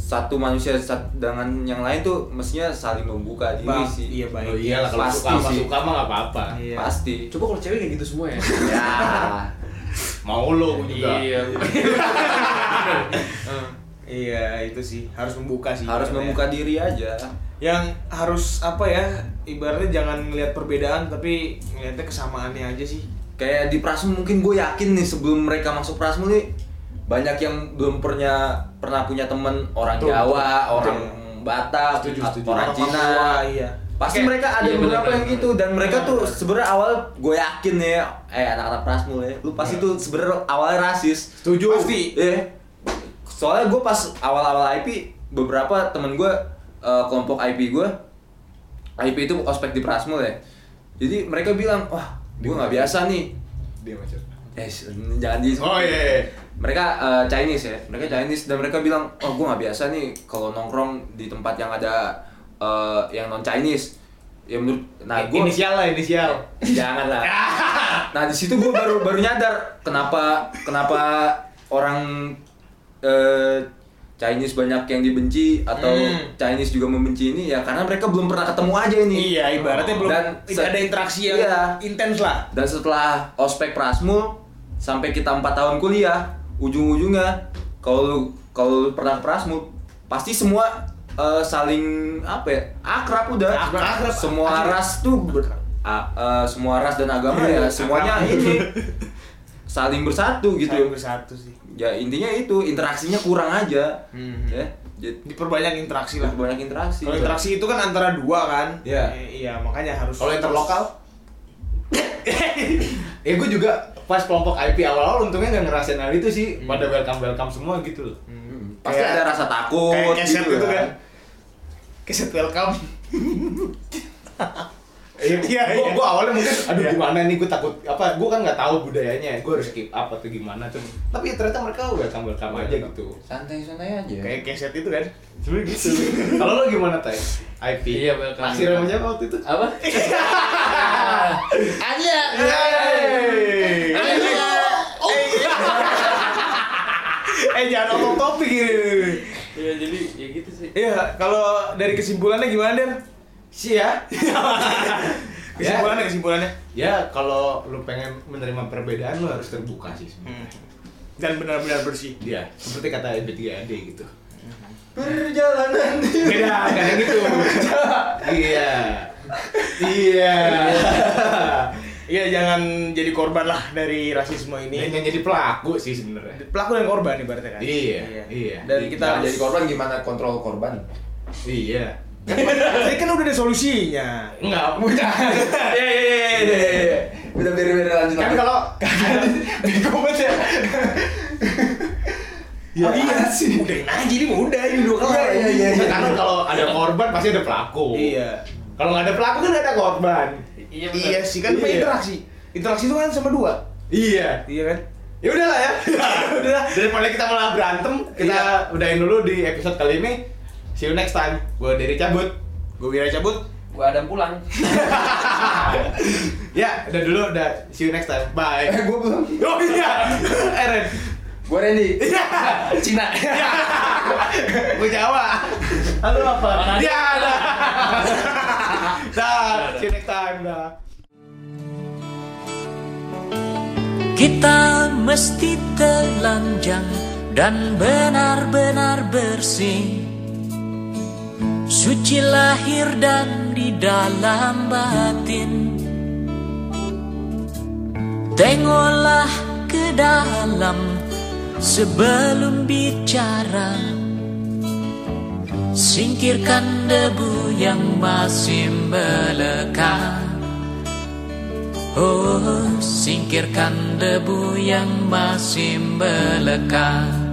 [SPEAKER 4] satu manusia sat- dengan yang lain tuh mestinya saling membuka diri
[SPEAKER 1] Ba-
[SPEAKER 4] sih.
[SPEAKER 1] iya, baik.
[SPEAKER 2] Oh iyalah kalau
[SPEAKER 4] Pasti
[SPEAKER 2] suka sama
[SPEAKER 4] sih.
[SPEAKER 2] suka mah nggak apa-apa.
[SPEAKER 1] Iya.
[SPEAKER 4] Pasti.
[SPEAKER 3] Coba kalau cewek kayak gitu semua ya.
[SPEAKER 4] Ya.
[SPEAKER 2] Mau lo gua juga.
[SPEAKER 3] Iya.
[SPEAKER 1] Iya, itu sih harus membuka sih.
[SPEAKER 3] Iya.
[SPEAKER 4] harus
[SPEAKER 1] ibaratnya.
[SPEAKER 4] membuka diri aja.
[SPEAKER 1] Yang harus apa ya? Ibaratnya jangan ngelihat perbedaan tapi ngelihatnya kesamaannya aja sih.
[SPEAKER 4] kayak di Prasmu mungkin gue yakin nih sebelum mereka masuk Prasmu nih banyak yang belum pernah pernah punya temen orang
[SPEAKER 2] Betul,
[SPEAKER 4] Jawa,
[SPEAKER 2] betul,
[SPEAKER 4] orang Batak,
[SPEAKER 2] Setuju,
[SPEAKER 4] at-
[SPEAKER 2] setuju.
[SPEAKER 4] orang Cina.
[SPEAKER 1] Papua, iya.
[SPEAKER 4] Pasti
[SPEAKER 3] Kayak-
[SPEAKER 4] mereka ada
[SPEAKER 3] iya, bener,
[SPEAKER 4] beberapa
[SPEAKER 3] bener,
[SPEAKER 4] yang
[SPEAKER 3] bener.
[SPEAKER 4] gitu dan mereka
[SPEAKER 3] Bener,
[SPEAKER 4] tuh
[SPEAKER 3] bener.
[SPEAKER 4] sebenarnya awal gue yakin nih eh anak-anak Prasmu ya, lu pasti tuh sebenarnya awalnya rasis.
[SPEAKER 1] Setuju.
[SPEAKER 4] Pasti. Iya. Soalnya gue pas awal-awal IP beberapa temen gue eh, kelompok IP gue IP itu ospek di Prasmul ya. Jadi mereka bilang, wah, gue nggak biasa nih.
[SPEAKER 2] Dia macam.
[SPEAKER 4] Eh, s- jangan di.
[SPEAKER 2] Oh iya. iya.
[SPEAKER 4] Mereka eh, Chinese ya, mereka Chinese dan mereka bilang, oh gue nggak biasa nih kalau nongkrong di tempat yang ada eh, yang non Chinese. Ya menurut, nah gue
[SPEAKER 2] Inisial lah inisial.
[SPEAKER 4] jangan lah. Nah di situ gue baru baru nyadar kenapa kenapa orang eh, Chinese banyak yang dibenci atau
[SPEAKER 1] Hmm.
[SPEAKER 4] Chinese juga membenci ini ya karena mereka belum pernah ketemu aja ini.
[SPEAKER 1] Iya, ibaratnya belum
[SPEAKER 4] Dan
[SPEAKER 1] tidak
[SPEAKER 4] se-
[SPEAKER 1] ada interaksi yang
[SPEAKER 4] Iya.
[SPEAKER 1] intens lah.
[SPEAKER 4] Dan setelah ospek Prasmul sampai kita 4 tahun kuliah, ujung-ujungnya kalau lu- kalau lu pernah Prasmul pasti semua eh, saling apa ya? Akrab udah.
[SPEAKER 1] Akrab, akrab.
[SPEAKER 4] Semua
[SPEAKER 1] Akrab. Iya,
[SPEAKER 4] ras tuh ber- a- eh, semua ras dan agama ya semuanya
[SPEAKER 1] akrab.
[SPEAKER 4] ini saling bersatu
[SPEAKER 1] Saling
[SPEAKER 4] gitu.
[SPEAKER 1] bersatu sih.
[SPEAKER 4] Ya intinya itu interaksinya kurang aja.
[SPEAKER 1] Hmm.
[SPEAKER 4] Ya. Jadi
[SPEAKER 1] Diperbanyak interaksi lah.
[SPEAKER 4] banyak interaksi.
[SPEAKER 1] Kalau interaksi itu kan antara dua kan?
[SPEAKER 2] Iya.
[SPEAKER 1] Eh, Iya, makanya harus.
[SPEAKER 2] Kalau interlokal? ya gue juga pas kelompok IP awal-awal untungnya nggak ngerasain hal itu sih pada welcome welcome semua gitu loh.
[SPEAKER 4] Hmm. Pasti
[SPEAKER 1] Kayak-
[SPEAKER 4] ada rasa takut
[SPEAKER 1] Kayak keset
[SPEAKER 4] gitu
[SPEAKER 1] gitu
[SPEAKER 4] ya.
[SPEAKER 1] kan? Keset welcome.
[SPEAKER 2] Iya,
[SPEAKER 1] Iya,
[SPEAKER 2] gua,
[SPEAKER 1] iya.
[SPEAKER 2] gua awalnya mungkin aduh
[SPEAKER 1] Iya.
[SPEAKER 2] gimana nih gue takut apa gue kan nggak tahu budayanya gue harus keep up atau gimana tuh tapi ya ternyata mereka welcome welcome aja gitu
[SPEAKER 4] Santai-santai aja.
[SPEAKER 1] Kayak keset itu kan?
[SPEAKER 2] sebenernya gitu kalau lo gimana tay IP
[SPEAKER 3] Iya, welcome.
[SPEAKER 2] masih namanya waktu itu
[SPEAKER 3] Apa? Ada.
[SPEAKER 1] Yeay.
[SPEAKER 2] eh,
[SPEAKER 1] Eh jangan ngomong topik ini.
[SPEAKER 3] Ya jadi ya gitu sih.
[SPEAKER 1] Iya, kalau dari kesimpulannya gimana, Den?
[SPEAKER 2] sih ya
[SPEAKER 1] Kesimpulannya, kesimpulannya.
[SPEAKER 2] ya kalau lu pengen menerima perbedaan lu harus terbuka sih sebenarnya
[SPEAKER 1] Dan benar-benar bersih.
[SPEAKER 2] Iya, seperti kata B3AD gitu
[SPEAKER 4] Perjalanan
[SPEAKER 2] Enggak, enggak yang itu. Iya. Iya.
[SPEAKER 1] Iya, jangan jadi korban lah dari rasisme
[SPEAKER 2] Ini
[SPEAKER 1] ini.
[SPEAKER 2] yang jadi pelaku sih sebenarnya.
[SPEAKER 1] Pelaku dan korban ibaratnya kan.
[SPEAKER 2] Iya, iya.
[SPEAKER 1] Dan kita
[SPEAKER 4] Jangan jadi korban gimana kontrol korban?
[SPEAKER 2] Iya.
[SPEAKER 1] Tadi kan udah ada solusinya.
[SPEAKER 2] Enggak, mudah.
[SPEAKER 4] Iya iya iya iya iya. Udah beri beri lanjut.
[SPEAKER 2] Kan
[SPEAKER 4] lanjut.
[SPEAKER 2] kalau
[SPEAKER 1] Bego banget ya.
[SPEAKER 4] Iya.
[SPEAKER 1] Oh, iya sih. Udahin aja ini mudah ini dua kelar.
[SPEAKER 4] Iya, iya, iya.
[SPEAKER 2] karena kalau ada korban pasti ada pelaku.
[SPEAKER 1] Iya.
[SPEAKER 2] Kalau nggak ada pelaku kan ada korban.
[SPEAKER 3] Iya benar.
[SPEAKER 1] Iya sih kan
[SPEAKER 2] Iya.
[SPEAKER 1] interaksi. Interaksi itu kan sama dua.
[SPEAKER 2] Iya.
[SPEAKER 1] Iya kan?
[SPEAKER 2] Ya udahlah ya. udahlah. Daripada kita malah berantem, kita
[SPEAKER 1] Iya.
[SPEAKER 2] udahin dulu di episode kali ini. See you next time. Gue dari cabut.
[SPEAKER 1] Gue Wira cabut.
[SPEAKER 3] Gua Adam pulang.
[SPEAKER 2] Ya, udah dulu, udah. See you next time. Bye.
[SPEAKER 4] Eh, gua belum.
[SPEAKER 2] Oh iya, Eren.
[SPEAKER 4] Gua Randy.
[SPEAKER 3] Cina.
[SPEAKER 2] Gue Jawa. Halo
[SPEAKER 3] Mana
[SPEAKER 2] apa?
[SPEAKER 3] ada?
[SPEAKER 2] Dia ada. Dah, see you next time. Dah.
[SPEAKER 7] Kita mesti telanjang dan benar-benar bersih Suci lahir dan di dalam batin Tengoklah ke dalam sebelum bicara Singkirkan debu yang masih melekat Oh, singkirkan debu yang masih melekat. Oh, oh.